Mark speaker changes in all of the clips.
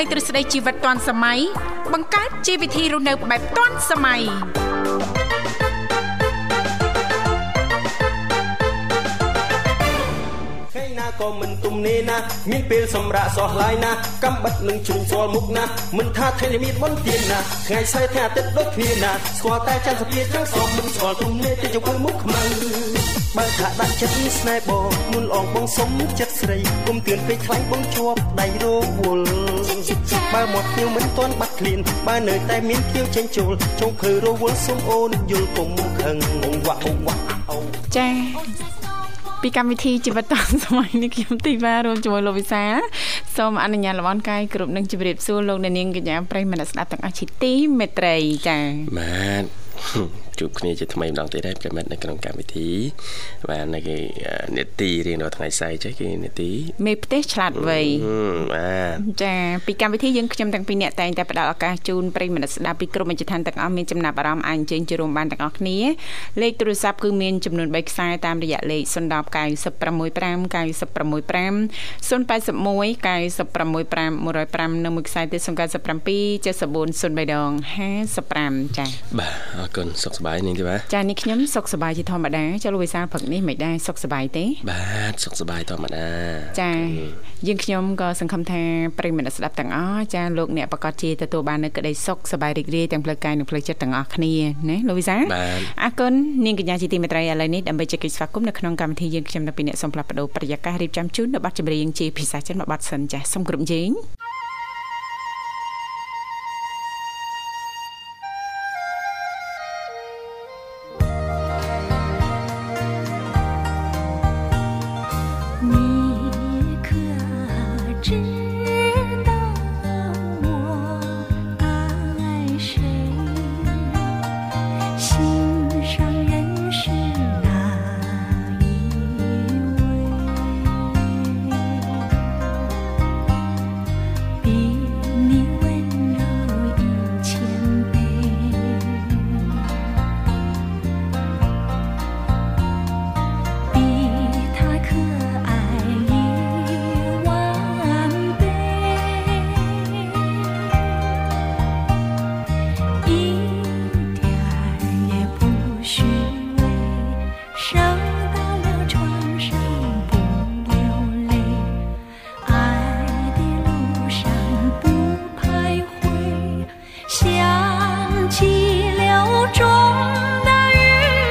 Speaker 1: លេខទ្រឹស្ដីជីវិតទាន់សម័យបង្កើតជីវវិធីរស់នៅបែបទាន់សម័យ
Speaker 2: ថ្ងៃណាក៏មិនទំនេរណាមានពេលសម្រាកសោះឡាយណាកំបិតនឹងជ្រុញស្វល់មុខណាមិនថាថ្ងៃនេះមានមុនទៀនណាថ្ងៃស្អែកថ្ងៃអាទិត្យដូចគ្នាណាស្គាល់តែចន្ទសភាចឹងសោះមិនស្គាល់ទំនេរទេចង្អុលមុខខ្មៅបើថាដាក់ចិត្តស្នេហ៍បងមុនអងបងសុំចិត្តស្រីគុំទឿនពេកខ្លាញ់បងជាប់ដៃរវល់បើមកភ្ញៀវមិនទាន់បាត់ឃ្លានបើនៅតែមានភ្ញៀវចេញចូលចុងភើរវល់សុំអូនយល់គុំខឹងអង្វាក់អង្វាក់អោ
Speaker 1: ចា៎ពីកម្មវិធីជីវិតទាន់សម័យនេះខ្ញុំទីវ៉ារួមជាមួយលោកវិសាលសូមអនុញ្ញាតលំអរកាយគ្រប់នឹងជម្រាបសួរលោកអ្នកនាងកញ្ញាប្រិយមិត្តអ្នកស្ដាប់ទាំងអស់ជាទីមេត្រីចា៎
Speaker 3: បាទជួបគ្នាជាថ្មីម្ដងទៀតហើយប្រិមិត្តនៅក្នុងកម្មវិធីបាទនៅគេអឺនេតិរៀងរាល់ថ្ងៃសៅរ៍ចេះគេនេតិ
Speaker 1: មេផ្ទះឆ្លាតវៃ
Speaker 3: ហឹមបាទ
Speaker 1: ចាពីកម្មវិធីយើងខ្ញុំទាំងពីរអ្នកតែងតែផ្ដល់ឱកាសជូនប្រិយមិត្តស្ដាប់ពីក្រុមអចិន្ត្រៃយ៍ទាំងអស់មានចំណាប់អារម្មណ៍អាចអញ្ជើញចូលរួមបានទាំងអស់គ្នាលេខទូរស័ព្ទគឺមានចំនួន3ខ្សែតាមរយៈលេខ010 965 965 081 965 105និងមួយខ្សែទៀត097 7403ដង55ចា
Speaker 3: បាទអរគុណសុខសប្បាយនាងទេបាទ
Speaker 1: ចានេះខ្ញុំសុខសប្បាយជាធម្មតាចូលវិសាលព្រឹកនេះមិនដែរសុខសប្បាយទេ
Speaker 3: បាទសុខសប្បាយធម្មតា
Speaker 1: ចាយើងខ្ញុំក៏សង្ឃឹមថាប្រិយមិត្តអ្នកស្ដាប់ទាំងអស់ចាលោកអ្នកប្រកាសជាទទួលបាននូវក្តីសុខសប្បាយរីករាយទាំងផ្លូវកាយនិងផ្លូវចិត្តទាំងអស់គ្នាណាលោកវិសាល
Speaker 3: បាទ
Speaker 1: អរគុណនាងកញ្ញាជាទីមេត្រីឥឡូវនេះដើម្បីជែកកិច្ចស្វាគមន៍នៅក្នុងកម្មវិធីយើងខ្ញុំតាំងពីអ្នកសំផ្លាប់បដោប្រយាកររៀបចំជូននៅប័ណ្ណចម្រៀងជាភាសាចិនមួយប័ណ្ណសិនចាសូមគ្រប់យើង
Speaker 4: 你可知道我爱谁？心上人是哪一位？比你温柔一千倍。比他可爱一万倍，一点儿也不虚伪，受到了创伤不流泪，爱的路上不徘徊。想起柳中的鱼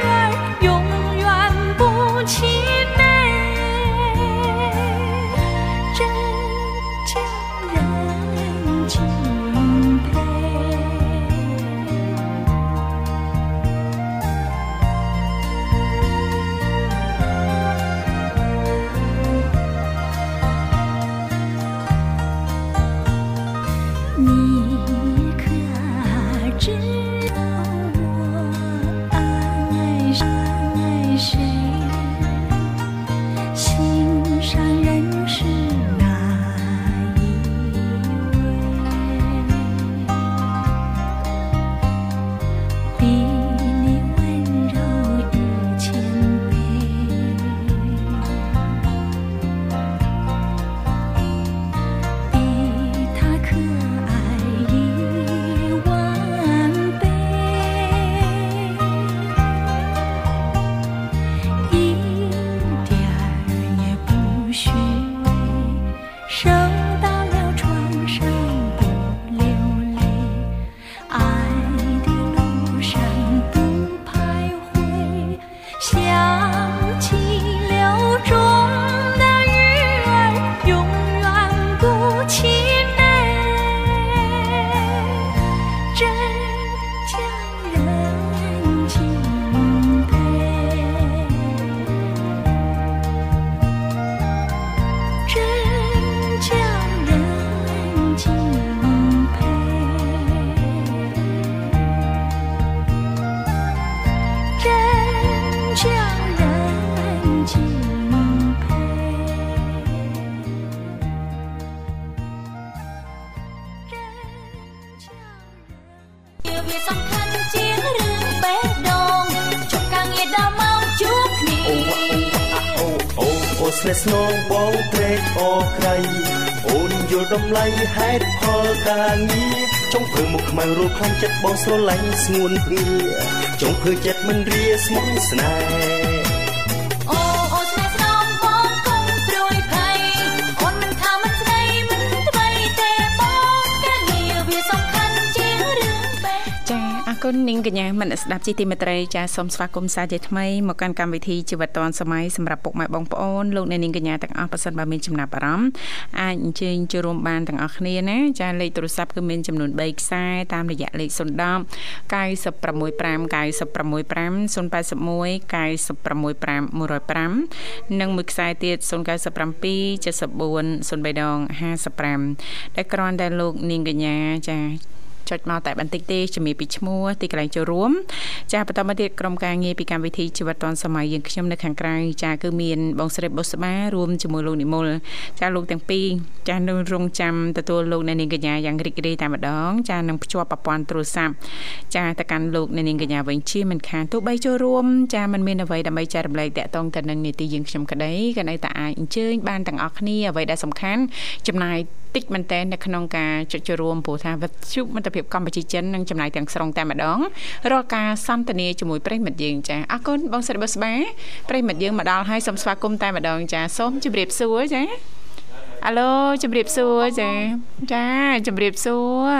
Speaker 4: 儿，永远不气馁，真叫人敬佩。你可知道我爱谁？爱谁？心上人是哪一位？比你温柔一千倍。比他可爱一万倍，一点儿也不虚伪，受到了创伤不流泪，爱的路上不徘徊，想起柳中的鱼儿，永远不气馁，真叫人敬佩。
Speaker 2: ស្នេហ៍ស្នងបងព្រែកអក្រៃអូនយល់តម្លៃហេតុផលការងារចង់ព្រឺមុខខ្មៅរੂខ្លាំងចិត្តបងស្រឡាញ់ស្ងួនព្រាចង់ព្រឺចិត្តមិនរាស្មុគស្នេហ៍
Speaker 4: អូអូស្នេហ៍ស្នងបងកុំព្រួយភ័យអូនមិនថាមិនស្ដីមិនថ្មីទេបងការងារវាសំខាន់ជាងរឿងបេះ
Speaker 1: ចាអរគុណនាងកញ្ញាមនស្ដាប់ជីទីមេត្រីចាសូមស្វាគមន៍សាជាថ្មីមកកាន់កម្មវិធីជីវិតឌွန်សម័យសម្រាប់ពុកម៉ែបងប្អូនលោកអ្នកនាងកញ្ញាទាំងអស់ប៉ះសិនបើមានចំណាប់អារម្មណ៍អាចអញ្ជើញចូលរួមបានទាំងអស់គ្នាណាចាលេខទូរស័ព្ទគឺមានចំនួន3ខ្សែតាមរយៈលេខ010 965 965 081 965 105និងមួយខ្សែទៀត097 74 0355ដែលគ្រាន់តែលោកនាងកញ្ញាចាចុចមកតែបន្តិចទេជំរាបពីឈ្មោះទីកន្លែងចូលរួមចាបន្តមកទៀតក្រុមការងារពីកម្មវិធីជីវិតឌွန်សម័យយើងខ្ញុំនៅខាងក្រៅចាគឺមានបងស្រីបុស្បារួមជាមួយលោកនិមលចាលោកទាំងពីរចានៅរងចាំទទួលលោកអ្នកនាងកញ្ញាយ៉ាងរីករាយតែម្ដងចានឹងភ្ជាប់ប្រព័ន្ធទូរស័ព្ទចាទៅកាន់លោកអ្នកនាងកញ្ញាវិញជាមិនខានទោះបីចូលរួមចាมันមានអ្វីដើម្បីចែករំលែកតាក់ទងទៅនឹងនីតិយើងខ្ញុំក្តីក៏នៅតែអាចអញ្ជើញបានទាំងអស់គ្នាអ្វីដែលសំខាន់ចំណាយ តិចមែនតើនៅក្នុងការចុចចូលរួមព្រោះថាវិទ្យុមិត្តភាពកម្ពុជាចិននឹងចំណាយទាំងស្រុងតែម្ដងរាល់ការសន្ទនាជាមួយប្រិយមិត្តយើងចាអរគុណបងសិរីបុស្បាប្រិយមិត្តយើងមកដល់ហើយសូមស្វាគមន៍តែម្ដងចាសូមជម្រាបសួរចាអាឡូជម្រាបសួរចាចាជម្រាបសួរ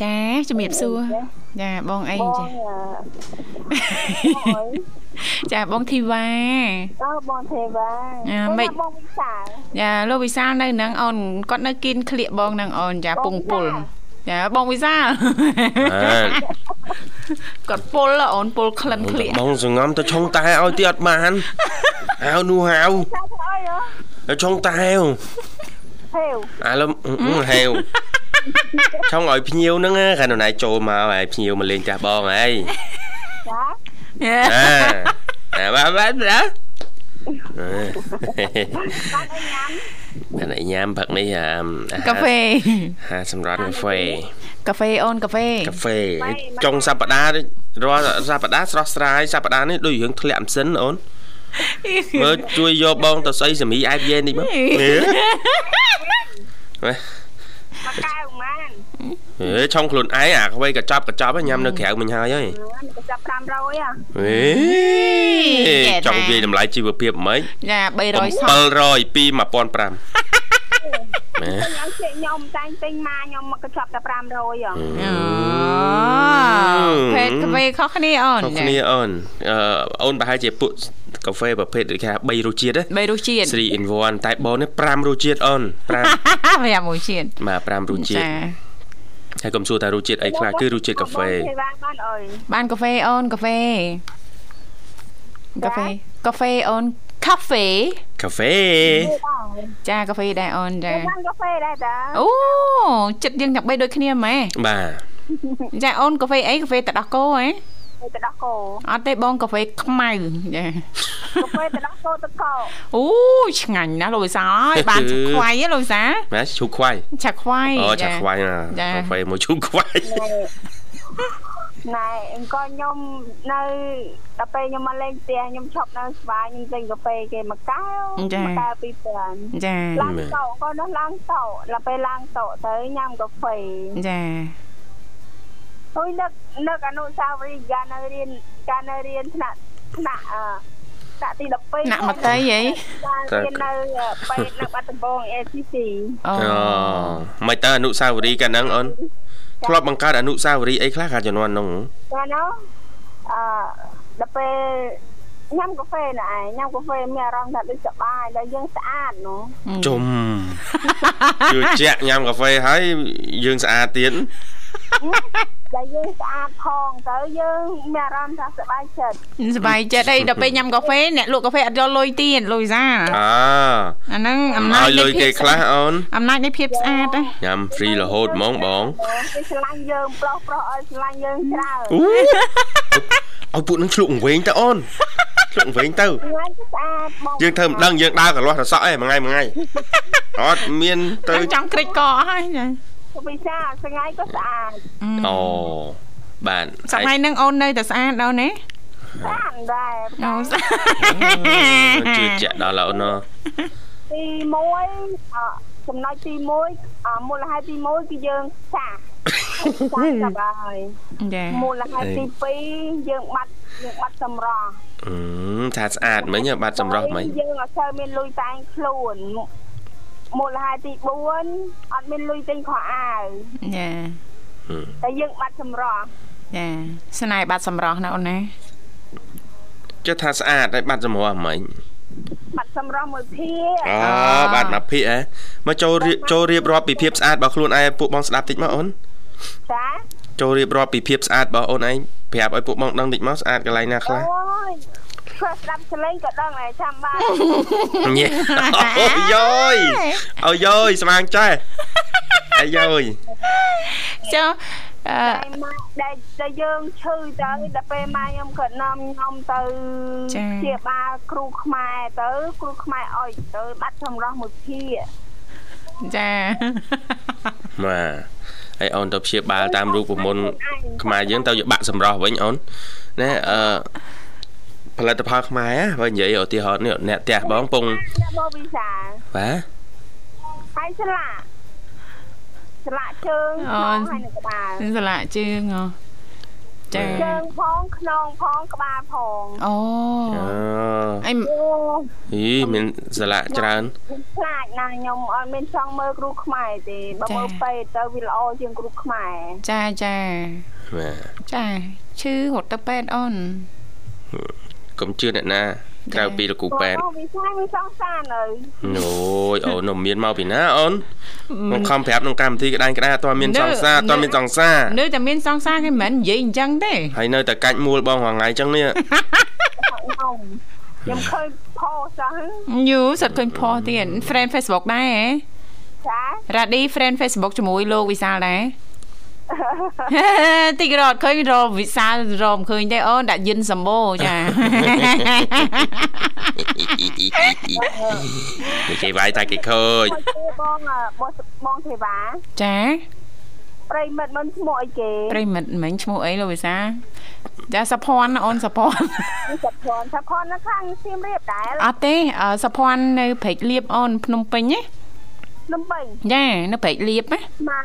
Speaker 1: ចាជម្រាបសួរចាបងអី
Speaker 5: បង
Speaker 1: ចា
Speaker 5: អឺ
Speaker 1: ចាបងធីវ៉ា
Speaker 5: អូបងទេវ៉ា
Speaker 1: អាម៉េ
Speaker 5: មិ
Speaker 1: ច
Speaker 5: ចបងវិសាល
Speaker 1: ចាលោកវិសាលនៅនឹងអូនគាត់នៅគិនក្លៀកបងនឹងអូនចាព
Speaker 5: បង
Speaker 1: ងពុល
Speaker 5: វិសាល
Speaker 1: ចាបងវិសាល
Speaker 3: បាទ
Speaker 1: គាត់ពុលអូនពុលក្លិនក្លៀក
Speaker 3: បងសង្ងំទៅឆុងតែឲ្យទីអត់បានហៅនោះហៅ
Speaker 5: ថាស្អីហ៎
Speaker 3: ទៅឆុងតែហៅ
Speaker 5: ហេវ
Speaker 3: អាលឹមអឺហៅឆុងឲ្យភ្ញៀវហ្នឹងណាកាលណែចូលមកហើយភ្ញៀវមកលេងចាស់បងហើយ
Speaker 5: ចា
Speaker 3: អាអាបាទបាទណាអឺបានឲ្យញ៉ាំផឹកនេះអាអាហារ
Speaker 1: កាហ្វេ
Speaker 3: ហារសម្រាប់កាហ្វេ
Speaker 1: កាហ្វេអូនកាហ្វេ
Speaker 3: កាហ្វេចុងសប្តាហ៍រាល់សប្តាហ៍ស្រស់ស្រាយសប្តាហ៍នេះដូចរឿងធ្លាក់មិនសិនអូនមើលជួយយកបងទៅស្អីសមីអែបយ៉េនេះមកហេ
Speaker 5: មកកៅម៉ាន
Speaker 3: ហេឆុងខ្លួនឯងអាខ្វេកញ្ចប់កញ្ចប់ហ្នឹងញ៉ាំនៅក្រៅមិញហើយហើយ
Speaker 5: ហ្នឹងក៏ចាប់500ហ៎
Speaker 3: ហេចង់វាយតម្លៃជីវភាពហ្មង
Speaker 1: ចា300សត
Speaker 3: 700ពី1500ម៉ែ
Speaker 5: ខ្ញុំជិះខ្ញុំតែងទិញម៉ាខ្ញុំមកក៏ចាប់តែ500ហ៎
Speaker 1: អូភេទកាហ្វេខុសគ្នាអូន
Speaker 3: បងគ្នាអូនអឺអូនប្រហែលជាពួកកាហ្វេប្រភេទដូចគេថា3រសជាតិ
Speaker 1: បីរសជាតិ
Speaker 3: 3 in 1តែបងនេះ5រសជាតិអូន5
Speaker 1: ប្រាប់មួយជាតិ
Speaker 3: បាទ5រសជាតិ
Speaker 1: ចា
Speaker 3: ហើយកុំសួរថារសជាតិអីខ្លះគឺរសជាតិកាហ្វេ
Speaker 5: បងទេវ៉ាបានអើយ
Speaker 1: បានកាហ្វេអូនកាហ្វេកាហ្វេកាហ្វេអូនកាហ្វេ
Speaker 3: កាហ្វេ
Speaker 5: បង
Speaker 1: ចាកាហ្វេដែរអូនចា
Speaker 5: បានកាហ្វេដែរតា
Speaker 1: អូចិត្តយើងទាំងបីដូចគ្នាម៉ែ
Speaker 3: បាទ
Speaker 1: ចាអូនកាហ្វេអីកាហ្វេទឹកដោះគោហ៎
Speaker 5: ទៅដោះគោ
Speaker 1: អត់ទេបងកាហ្វេខ្មៅចា
Speaker 5: កាហ្វេទៅដោះគោទឹកកោ
Speaker 1: អូឆ្ងាញ់ណាស់លោកវិសាល អើយបានឆាខ្វៃហ៎លោកវិសាល
Speaker 3: ណាឈូខ្វាយ
Speaker 1: ឆាខ្វៃ
Speaker 3: អូចាខ្វាយណា
Speaker 1: ចា
Speaker 3: កាហ្វេមួយឈូខ្វាយ
Speaker 5: ណែអង្គខ្ញុំនៅដល់ពេលខ្ញុំមកលេងផ្ទះខ្ញុំឈប់នៅស្វាយខ្ញុំទិញកាហ្វេគេមកកៅ
Speaker 1: ចា
Speaker 5: មកកៅ2000
Speaker 1: ចា
Speaker 5: ឡើងតោក៏នោះឡើងតោដល់ពេលឡើងតោទៅញ៉ាំកាហ្វេ
Speaker 1: ចា
Speaker 5: អុយនឹកនឹកអនុស្សាវរីយ៍កាលនៅរៀនកាលនៅរៀនថ្នាក់ថ្នាក់អឺថ្នាក់ទី12
Speaker 1: ណាក់មតីហី
Speaker 5: កាលរៀននៅពេទ្យនៅបាត់ដំបង ACC
Speaker 1: អូ
Speaker 3: អូមិនទៅអនុស្សាវរីយ៍កាលហ្នឹងអូនធ្លាប់បង្កើតអនុស្សាវរីយ៍អីខ្លះកាលជំនាន់ហ្នឹង
Speaker 5: កាលនោះអឺដល់ពេលញ៉ាំកាហ្វេណ៎ឯងញ៉ាំកាហ្វេមានអារម្មណ៍ថាដូចសប្បាយដល់យើងស្អាតនោះ
Speaker 3: ជុំជឿជាក់ញ៉ាំកាហ្វេហើយយើងស្អាតទៀត
Speaker 5: ដល់យើងស្អាតផងទៅយើងមានអារម្មណ៍ថាសប្បាយចិត្ត
Speaker 1: សប្បាយចិត្តអីដល់ពេលញ៉ាំកាហ្វេអ្នកលក់កាហ្វេអត់យកលុយទៀតលោកវិសាល
Speaker 3: អា
Speaker 1: អាហ្នឹងអំណា
Speaker 3: ឲ្យ
Speaker 1: ច
Speaker 3: លុយគេខ្លះអូន
Speaker 1: អំណាចនៃភាពស្អាតណា
Speaker 3: ញ៉ាំហ្វ្រីរហូតហ្មងបង
Speaker 5: បងគេឆ្លាញ់យើងប្រុសប្រុសឲ្យឆ្លាញ់យើងច្រើន
Speaker 3: អូឲ្យពួកហ្នឹងឆ្លុកវែងទៅអូនឆ្លុកវែងទៅ
Speaker 5: ឆ្លាញ់ស្អាតបង
Speaker 3: យើងធ្វើមិនដឹងយើងដើរកលាស់រសក់ឯងមួយថ្ងៃមួយថ្ងៃ អត់មានទៅ
Speaker 1: ចង់ក្រិចកអស់ហើយចា
Speaker 5: សុវិសាស្ងៃក៏ស្អាត
Speaker 3: អូបាទ
Speaker 1: សម័យហ្នឹងអូននៅតែស្អាតដល់ណា
Speaker 5: ស្អាតដែរ
Speaker 1: អូស្អា
Speaker 3: អូជឿ
Speaker 1: ត
Speaker 3: ជាក់ដល់ឡូវណោះ
Speaker 5: ទី1ចំណុចទី1មូលហេតុទី1គឺយើងចាស់ចាស់ចាប់ហើយ
Speaker 1: ចា
Speaker 5: មូលហេតុទី2យើងបាត់យើងបាត់សម្រស់
Speaker 3: អឺថាស្អាតមិញហ៎បាត់ចម្រោះមិញ
Speaker 5: យើងអត់ស្ូវមានលុយតែងខ្លួនមូលហេតុទី4អត់មានលុយទិញខោអាវ
Speaker 1: ចា
Speaker 3: ហឹម
Speaker 5: តែយើងបាត់សម្រស់
Speaker 1: ចាស្នេហ៍បាត់សម្រស់ណាអូនណា
Speaker 3: ចុះថាស្អាតហើយបាត់ចម្រោះមិញ
Speaker 5: បាត់សម្រស់មួយភាគ
Speaker 3: អូបាត់មកភាកហ៎មកចូលរៀបចូលរៀបរាប់ពីភាពស្អាតរបស់ខ្លួនឯងពួកបងស្ដាប់តិចមកអូន
Speaker 5: ចា
Speaker 3: ចូលរៀបរាប់ពីភាពស្អាតរបស់អូនឯងប្រាប់ឲ្យពួកបងដឹងតិចមកស្អាតកន្លែងណាខ្លះ
Speaker 5: អូយស្គាល់ស្ដាប់សលេងក៏ដឹងហើយចាំបាន
Speaker 3: ញ៉េអូយយអូយយស្មាន ចេះអាយយ
Speaker 1: ចុះអឺ
Speaker 5: តែម៉ាក់ដែលតែយើងឈឺទៅដល់ពេលម៉ាក់ខ្ញុំក៏នាំខ្ញុំទៅ
Speaker 1: ចា
Speaker 5: ជាបាលគ្រូខ្មែរទៅ គ្រូខ្មែរអុយទៅបាត់សម្រស់មួយភាគ
Speaker 1: ចា
Speaker 3: បាទហើយអូនទៅព្យាបាលតាមរូបមន្តខ្មែរយើងទៅយកបាក់សម្រស់វិញអូនណាអឺផលិតផលខ្មែរហ៎បើនិយាយឧទាហរណ៍នេះអ្នកផ្ទះបងពង
Speaker 5: ដល់មកវិសា
Speaker 3: បាទ
Speaker 5: ហើយស្លាកស្លាកជើងផងហើយនៅក្បាល
Speaker 1: ស្លាកជើងហ៎ចា
Speaker 5: ជើងផងខ្នងផងក្បាលផង
Speaker 1: អូ
Speaker 3: អូ
Speaker 1: អីម
Speaker 5: អូ
Speaker 3: យីមានសាឡាក់ច្រើន
Speaker 5: ខ្ញុំខ្លាចណាស់ខ្ញុំអត់មានចង់មើលគ្រូខ្មែរទេបើមើលពេកទៅវាល្អជាងគ្រូខ្មែរ
Speaker 1: ចាចា
Speaker 3: បាទ
Speaker 1: ចាឈឺរត់ទៅពេទ្យអូន
Speaker 3: កុំជឿអ្នកណាក្រៅពីលោកគ្រូប៉ែន
Speaker 5: អូវិសាវាសង្សារនៅ
Speaker 3: អូយអូននោះមានមកពីណាអូនមកខំប្រាប់ក្នុងកម្មវិធីក្តាញ់ក្តារអត់ទាន់មានសង្សារអត់ទាន់មានសង្សារ
Speaker 1: នៅតែមានសង្សារគេមិនមែននិយាយអញ្ចឹងទេ
Speaker 3: ហើយនៅតែកាច់មួលបងរាល់ថ្ងៃអញ្ចឹ ងនេះ
Speaker 5: ខ្ញុំខ្ញុំឃើញផោសោះ
Speaker 1: យូសិតឃើញផុសទៀត friend Facebook ដែរហ៎
Speaker 5: ចា
Speaker 1: រ៉ាឌី friend Facebook ជាមួយលោកវិសាលដែរ តិចរត់ឃើញរមវិសាលរមឃើញទេអូនដាក់យិនសម្បូរចា
Speaker 3: គេវាយតែគេឃើញ
Speaker 5: មកជួយបងអ่ะបងបងទេវ៉ា
Speaker 1: ចា
Speaker 5: ប្រិមិត្តមិនឈ្មោះអីគេ
Speaker 1: ប្រិមិត្តមិញឈ្មោះអីលោកវិសាលចាសុភ័ណ្ឌអូនសុភ័ ណ្ឌ
Speaker 5: សុភ័ណ្ឌសុភ័ណ្ឌនៅខាងសៀមរាបដែរ
Speaker 1: អត់ទេអឺសុភ័ណ្ឌនៅព្រែកលៀបអូនភ្នំពេញណា
Speaker 5: ភ្នំពេញ
Speaker 1: ចានៅព្រែកលៀបណា
Speaker 5: ស្មា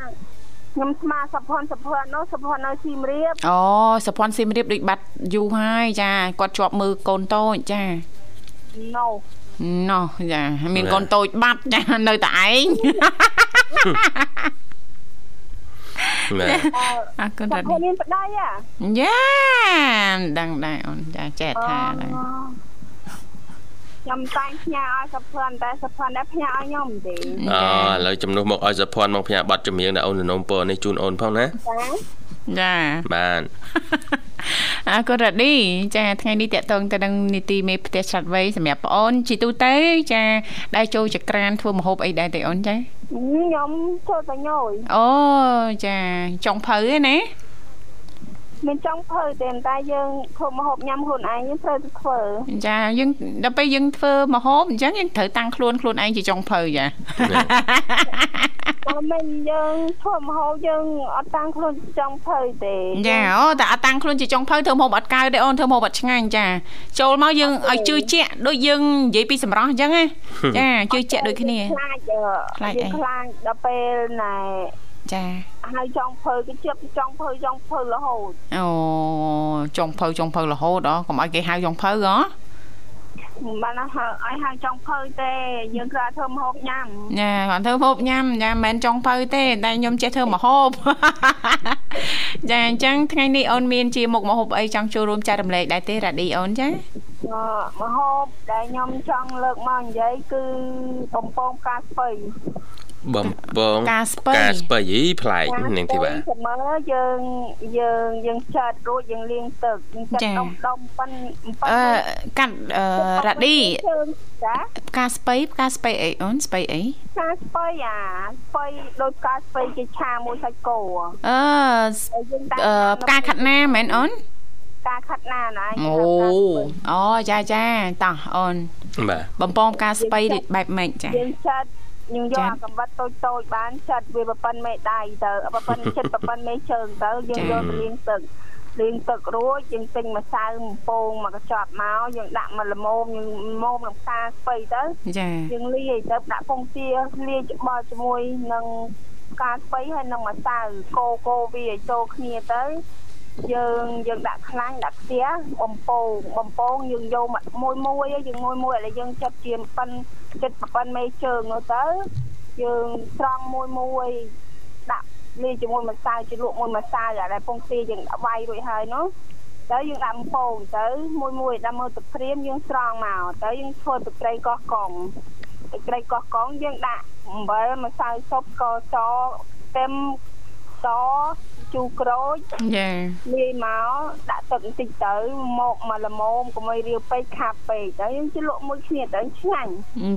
Speaker 5: ខ្ញុំស្មាសុភ័ណ្ឌសុភ័ណ្ឌនោះសុភ័ណ្ឌនៅសៀមរាប
Speaker 1: អូសុភ័ណ្ឌសៀមរាបដូចបាត់យូរហើយចាគាត់ជាប់មើលកូនតូចចា
Speaker 5: នោះ
Speaker 1: ណោះចាមានកូនតូចបាត់ចានៅតែឯង
Speaker 3: ណា
Speaker 1: អរគុណ
Speaker 5: សុ
Speaker 1: រ៉ាឌី
Speaker 5: ភ័ណ្ឌមានប្តីហ៎
Speaker 1: យ៉ាដឹងដែរអូនចាចេះថាដែរ
Speaker 5: ខ្ញុំតែងផ្ញើឲ្យសុភ័ណ្ឌតែសុភ័ណ្ឌដែរផ្ញើឲ្យខ្ញុំទេ
Speaker 3: អូឥឡូវជំនួសមកឲ្យសុភ័ណ្ឌមកផ្ញើប័ណ្ណចម្រៀងដល់អូនសនំពរនេះជូនអូនផងណា
Speaker 5: ចា
Speaker 1: ចា
Speaker 3: បាន
Speaker 1: អរគុណរ៉ាឌីចាថ្ងៃនេះតកតងទៅនឹងនីតិមេផ្ទះឆ្លាតវៃសម្រាប់បងអូនជីទូទៅចាដែរចូលចក្រានធ្វើមហូបអីដែរទេអូនចា
Speaker 5: ខ្ញុំចូលតែញយ
Speaker 1: អូចាចុងភៅឯណា
Speaker 5: មានចង់ភើទេតែយើងធ្វើម្ហូបញ៉ាំខ្លួនឯងយើងត្រូវតែធ្វើ
Speaker 1: ចាយើងដល់ពេលយើងធ្វើមហូបអញ្ចឹងយើងត្រូវតាំងខ្លួនខ្លួនឯងជាចុងភៅចា
Speaker 5: តែមិនយើងធ្វើម្ហូបយើងអត់តាំងខ្លួនចង់ភើទេ
Speaker 1: ចាអូតែអត់តាំងខ្លួនជាចុងភៅធ្វើមហូបអត់កើទេអូនធ្វើមហូបអត់ឆ្ងាញ់ចាចូលមកយើងឲ្យជឿជាក់ដូចយើងនិយាយពីសម្រស់អញ្ចឹងណាចាជឿជាក់ដូចគ្នា
Speaker 5: ខ្លាចអឺ
Speaker 1: ខ្លាចអី
Speaker 5: យើងខ្លាចដល់ពេលណែ
Speaker 1: ចា
Speaker 5: ហើយចង់ភើគេជិបចង់ភើចង់ភើរហូត
Speaker 1: អូចុងភៅចុងភៅរហូតអកុំឲ្យគេហៅចុងភៅហ៎
Speaker 5: មិនបានហៅឲ្យហៅចង់ភើទេ យើងគ្រាន់តែធ្វើម្ហូបញ៉ាំ
Speaker 1: ញ៉ាគាត់ធ្វើហូបញ៉ាំញ៉ាមិនមែនចុងភៅទេតែខ្ញុំចេះធ្វើម្ហូប ចាអញ្ចឹងថ្ងៃនេះអូនមានជាមុខម្ហូបអីចង់ចូលរួមចែករំលែកដែរទេរ៉ាឌីអូនចា
Speaker 5: អឺម្ហូបដែលខ្ញុំចង់លើកមកនិយាយគឺបំពងផ្កាស្ពៃ
Speaker 3: បំពង
Speaker 1: ការស្ពៃ
Speaker 3: ការស្ពៃអីប្លែកនាងធីវ៉ា
Speaker 5: ផ្កាស្ពៃស្មើយើងយើងយើងចាត់រួចយើងលាងទឹកយើងចាត់ដុំដុំប៉ិនប៉ិ
Speaker 1: អឺកាត់អឺរ៉ាឌី
Speaker 5: ជើងចា
Speaker 1: ផ្កាស្ពៃផ្កាស្ពៃអីអូនស្ពៃអី
Speaker 5: ផ្កាស្ពៃអាស្ពៃដូចផ្កាស្ពៃជាឆាមួយសាច់គោ
Speaker 1: អឺស្
Speaker 5: ហើយយើងតាំង
Speaker 1: អឺផ្កាខាត់ណាមែនអូន
Speaker 5: ការខាត់ណាណាយ
Speaker 1: អូអូចាចាតោះអូន
Speaker 3: បាទ
Speaker 1: បំពងផ្កាស្ពៃដូចបែបម៉េចចា
Speaker 5: យើងចាត់យើងយក
Speaker 1: ចា
Speaker 5: អាកំបិតតូចតូចៗបានចាត់វាប្រប៉ិនមេដៃទៅប្រប៉ិនចិត្តប្រប៉ិនមេជើងទៅយើង
Speaker 1: ចា
Speaker 5: យកទៅលាងទឹក លាងទឹករួចយើងទិញម្សៅបំពងមកកញ្ចប់មកយើងដាក់មកល្មមយើងល្មមនឹងផ្កាស្ពៃទៅ
Speaker 1: ចា
Speaker 5: យើងលាយទៅដាក់ពងទាលាយច្បល់ជាមួយនឹងផ្កាស្ពៃហើយនឹងម្សៅកូរកូរវាឲ្យចូលគ្នាទៅ យើងយើងដាក់ខ្លាញ់ដាក់ខ្ទះបំពងបំពងយើងយកមកមួយមួយឯងយើងមួយមួយឥឡូវយើងចិត្តជាប៉ិនចិត្តប៉ិនមេជើងហ្នឹងទៅយើងត្រង់មួយមួយដាក់លាយជាមួយម្សៅជាលក់មួយម្សៅអាដែលពងទាយើងដាក់វាយរួចហើយនោះទៅយើងដាក់បំពងទៅមួយមួយដាក់មើលទឹកព្រាមយើងស្រង់មកទៅយើងធ្វើទឹកត្រីកោះកងទឹកត្រីកោះកងយើងដាក់អំបិលម្សៅស៊ុបស្ករសខ្ទឹមសជូរក្រូច
Speaker 1: ចា
Speaker 5: លាយមកដាក់ទឹកបន្តិចទៅមកមកល្មមកុំឲ្យរាវពេកខាប់ពេកទៅយើងជិះលក់មួយគ្នាទៅឆ្ងាញ់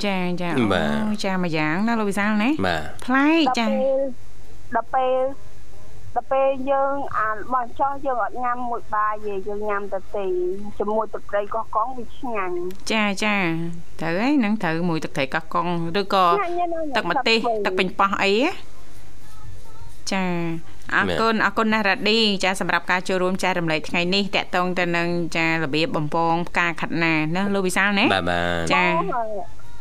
Speaker 1: ចាចា
Speaker 3: បា
Speaker 1: អូ
Speaker 3: ទ
Speaker 1: ចាមួយយ៉ាងណាលោកវិសាលណា
Speaker 3: បាទ
Speaker 1: ប្លែក
Speaker 5: ដល់
Speaker 1: ចា
Speaker 5: ពេលដល់ពេលដល់ពេលយើងអាបោះចោះយើងអត់ញ៉ាំមួយបាយទេយើងញ៉ាំតែទេជាមួយទឹកត្រីកោះកងវាឆ្ងាញ់
Speaker 1: ចាចាត្រូវហើយហ្នឹងត្រូវមួយទឹកត្រីកោះកុងឬក៏
Speaker 5: ឆ្ងាញ់ណាស់
Speaker 1: ទឹកម្ទេសទឹកបិញប៉ោះអីហ៎ចាអរគុណអរគុណណាស់រ៉ាឌីចាសម្រាប់ការចូលរួមចែករំលែកថ្ងៃនេះតកតងទៅនឹងចារបៀបបំពងផ្កាខាត់ណាណាលោកវិសាលណា
Speaker 3: បាទបាទ
Speaker 1: ចា
Speaker 5: បង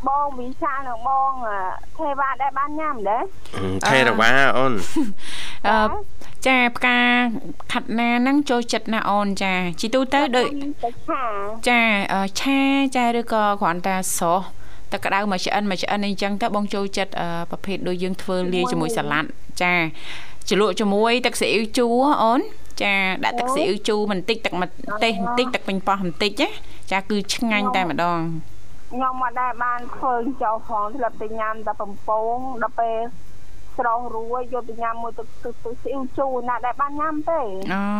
Speaker 5: បងវិសាលនិងបងអ่ะទេវតាដែលបានញ៉ាំដែរ
Speaker 3: ថេរវ៉ាអូន
Speaker 1: អឺចា
Speaker 5: ចា
Speaker 1: ផ្កាខាត់ណាហ្នឹងចូលចិត្តណាអូនចាជីទូទៅដូច
Speaker 5: ទៅឆា
Speaker 1: ចាអឺឆាចាឬក៏គ្រាន់តែស្រស់ទឹកក្តៅមួយឆ្អិនមួយឆ្អិនអីចឹងទៅបងចូលចិត្តអឺប្រភេទដូចយើងធ្វើលាយជាមួយសាឡាត់ចាជ្រលក់ជាមួយទឹកស៊ីអ៊ីវជូរអូនចាដាក់ទឹកស៊ីអ៊ីវជូរបន្តិចទឹកម្ទេសបន្តិចទឹកពេញប៉ោះបន្តិចណាចាគឺឆ្ងាញ់តែម្ដង
Speaker 5: ញ៉ាំមកដែរបានឃើញចោលផងស្លាប់ទៅញ៉ាំតែបំពងដល់ពេលស្រងរួយយកទៅញ៉ាំមួយទឹកទឹកទឹកស៊ីអ៊ូជូរណាស់ដែរបានញ៉ាំទេ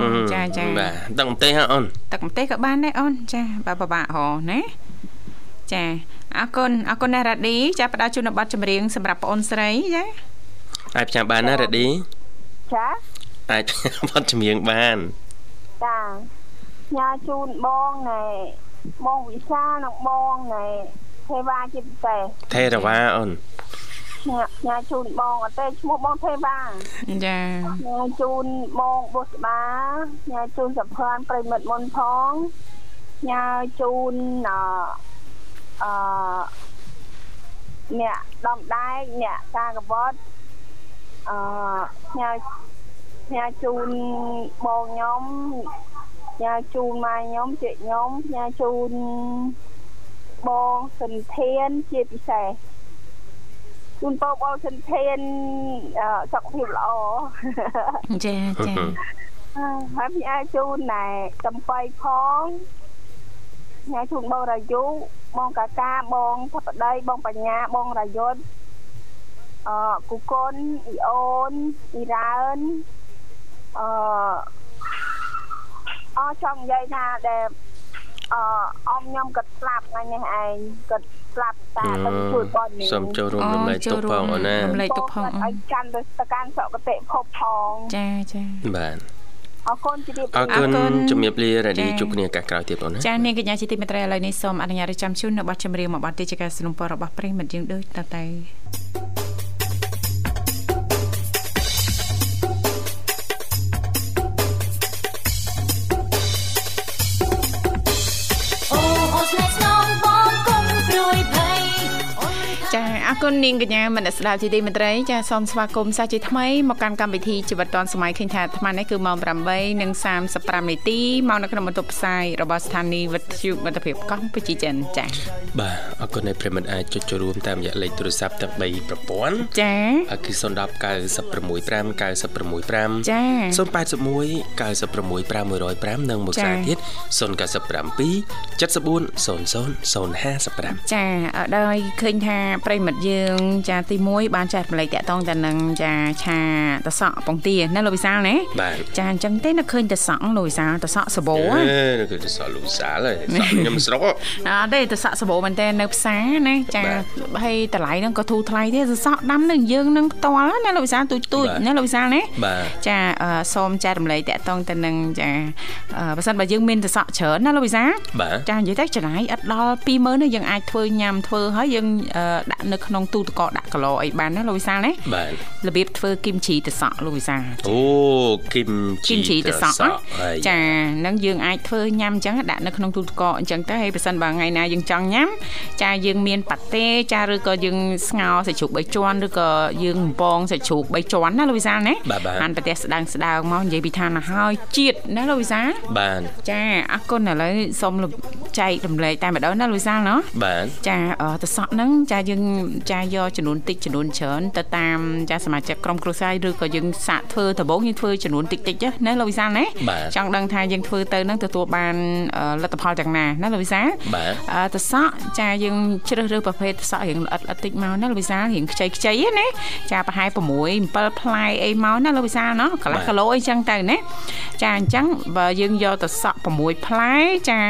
Speaker 1: អូចាចា
Speaker 3: បាទដឹងទេហ៎អូន
Speaker 1: ទឹកម្ទេសក៏បានដែរអូនចាបើពិបាកហ៎ណាចាអរគុណអរគុណណាស់រ៉ាឌីចាផ្ដល់ជូនប័ណ្ណចម្រៀងសម្រាប់បងអូនស្រីចា
Speaker 3: អាចផ្សាយបានណារ៉េឌី
Speaker 5: ចា
Speaker 3: អាចផ្សាយបទចម្រៀងបាន
Speaker 5: ចាញ៉ាជូនបងណែបងវិសាលនិងបងណែទេវ៉ាជាពិសេស
Speaker 3: ថេរវ៉ាអូន
Speaker 5: ញ៉ាញ៉ាជូនបងអត់ទេឈ្មោះបងទេវ៉ា
Speaker 1: ចា
Speaker 5: ញ៉ាជូនបងបុស្បាញ៉ាជូនសភានប្រិមិត្តមុនផងញ៉ាជូនអអឺអ្នកដំដែកអ្នកការកវត្តអឺញ៉ាញ៉ាជូនបងខ្ញុំញ៉ាជូនម៉ែខ្ញុំជិខ្ញុំញ៉ាជូនបងសិនធានជាពិសេសជូនបងបងសិនធានអឺសុខភាពល្អ
Speaker 1: ចាចា
Speaker 5: ហើយខ្ញុំអាចជូនណែតំបៃផងខ្ញុំជូនបងរាយុបងកាកាបងផបដីបងបញ្ញាបងរាយុទ្ធអឺគូគុនអ៊ីអូនអ៊ីរ៉ើនអឺអស់ចង់និយាយថាដែលអឺអមខ្ញុំគាត់ស្លាប់ថ្ងៃនេះឯងគាត់ស្លាប់តាគាត់ជួយបងនេះ
Speaker 3: សូមចូលរួម
Speaker 1: អូ
Speaker 3: រំលែក
Speaker 1: ចូល
Speaker 3: ទុកផង
Speaker 1: រួម
Speaker 3: អូនណា
Speaker 1: រំលែក ទុកផង
Speaker 5: បងគាត់ឲ្យកាន់ទៅស្កានសកតិភពផង
Speaker 1: ចាចា
Speaker 3: បាទ
Speaker 5: អរគុណជម្រាប
Speaker 1: អ
Speaker 3: អរគុណ
Speaker 5: លា
Speaker 1: រគុណ
Speaker 3: ជំរាបលារ៉េឌី
Speaker 1: ចា៎
Speaker 3: ជួបគ្នាឱកាសក្រោយទៀតអូនណា
Speaker 1: ចានាងកញ្ញាជាទីមេត្រីឥឡូវនេះសូមអនុញ្ញាតរៀបចំជូននៅបទចម្រៀងមួយបទទីជាការสนับสนุนរបស់ប្រិយមិត្តយើងដូចតទៅ
Speaker 4: អូអូស្នេហ៍ស្នងបងកុំព្រួយភ័យអូន
Speaker 1: ចាអរគុណនាងកញ្ញាមនស្សស្ដាប់ជាទីមេត្រីចាសូមស្វាគមន៍សាស្ត្រជាថ្មីមកកាន់កម្មវិធីជីវិតឌွန်សម័យឃើញថាអាត្មានេះគឺម៉ោង8:35នាទីមកនៅក្នុងបន្ទប់ផ្សាយរបស់ស្ថានីយ៍វិទ្យុមិត្តភាពកម្ពុជាចិនចា
Speaker 3: បាទអរគុណដែលប្រិមត្តអាចចុចចូលរួមតាមរយៈលេខទូរស័ព្ទទាំង3ប្រព័ន្ធ
Speaker 1: ចា
Speaker 3: អគឺ010965965
Speaker 1: ចា៎
Speaker 3: 081965105និងមួយ
Speaker 1: ចា៎
Speaker 3: ខ្សែទៀត0977400055
Speaker 1: ចាអរដោយឃើញថាប្រិយមិត្តយើង ចាទី1បានចែករំលែកតាក់ទងទៅនឹងចាឆាតសក់ពងទាណាលោកវិសាលណា
Speaker 3: បាទ
Speaker 1: ចាអញ្ចឹងទេនៅឃើញតសក់លោកវិសាលតសក់សបោ
Speaker 3: អឺគឺទៅសល់លូសាលហើយសក់ខ្ញុំ ស្រុកហ៎
Speaker 1: អត់ទេតសក់សបោមែនតើនៅផ្សារណាចា
Speaker 3: បា
Speaker 1: ហើយតម្លៃហ្នឹងក៏ធូរថ្លៃទេសសក់ដាំនឹងយើងនឹងផ្ទាល់ណាលោកវិសាលទូចទូច
Speaker 3: បាទ
Speaker 1: ណាលោកវិសាលណា
Speaker 3: បាទ
Speaker 1: ចាអឺសូមចែករំលែកតាក់ទងទៅនឹងចាអឺបើសិនបើយើងមានតសក់ច្រើនណាលោកវិសាល
Speaker 3: បាទ
Speaker 1: ចានិយាយទៅចំណាយឥតដល់20000ទេយើងអាចធ្វើញ៉ាំធ្វើហើយយើងអឺ ដាក់នៅក្នុងទូទឹកកកដាក់កន្លអីបានណាលោកវិសាលណា
Speaker 3: បាទ
Speaker 1: របៀបធ្វើគីមជីទឹកសក់លោកវិសាល
Speaker 3: អូគីម
Speaker 1: គី
Speaker 3: ជី
Speaker 1: មជីទឹកសក់
Speaker 3: ហើយ
Speaker 1: ចាហ្នឹងយើងអាចធ្វើញ៉ាំអញ្ចឹងដាក់នៅក្នុងទូទឹកកកអញ្ចឹងទៅហើយបើសិនបើថ្ងៃណាយើងចង់ញ៉ាំចាយើងមានប៉ាតេចាឬក៏យើងស្ងោរសាច់ជ្រូក3ជាន់ឬក៏យើងបំពងសាច់ជ្រូក3ជាន់ណាលោកវិសាលណា
Speaker 3: បាទបាទ
Speaker 1: ហាន់ប្រទេសស្ដើងស្ដើងមកនិយាយពីឋានឲ្យហើយជាតិណាលោកវិសាល
Speaker 3: បាន
Speaker 1: ចាអរគុណឥឡូវសូមលំចែករំលែកតែម្ដងណាលោកវិសាលណា
Speaker 3: បាន
Speaker 1: ចាអឺទៅសក់ហ្នឹងចាយើងចាយកចំនួនតិចចំនួនច្រើនទៅតាមចាសមាជិកក្រុមគ្រួសារឬក៏យើងសាកធ្វើដំបូងយើងធ្វើចំនួនតិចតិចណាលោកវិសាលណា
Speaker 3: បាទ
Speaker 1: ចង់ដឹងថាយើងធ្វើទៅហ្នឹងទទួលបានអឺលទ្ធផលយ៉ាងណាណាលោកវិសាល
Speaker 3: បាទ
Speaker 1: អឺទៅសក់ចាយើងជ្រើសរើសប្រភេទទៅសក់រៀងល្អិតល្អិតតិចមកណាលោកវិសាលរៀងខ្ចីខ្ចីៗណាចាប្រហែល6 7ផ្លែអីមកណាលោកវិសាលណាកន្លះគីឡូអីចឹងទៅណាចាអញ្ចឹងបើយើងយកទៅសក់6ផ្លែចា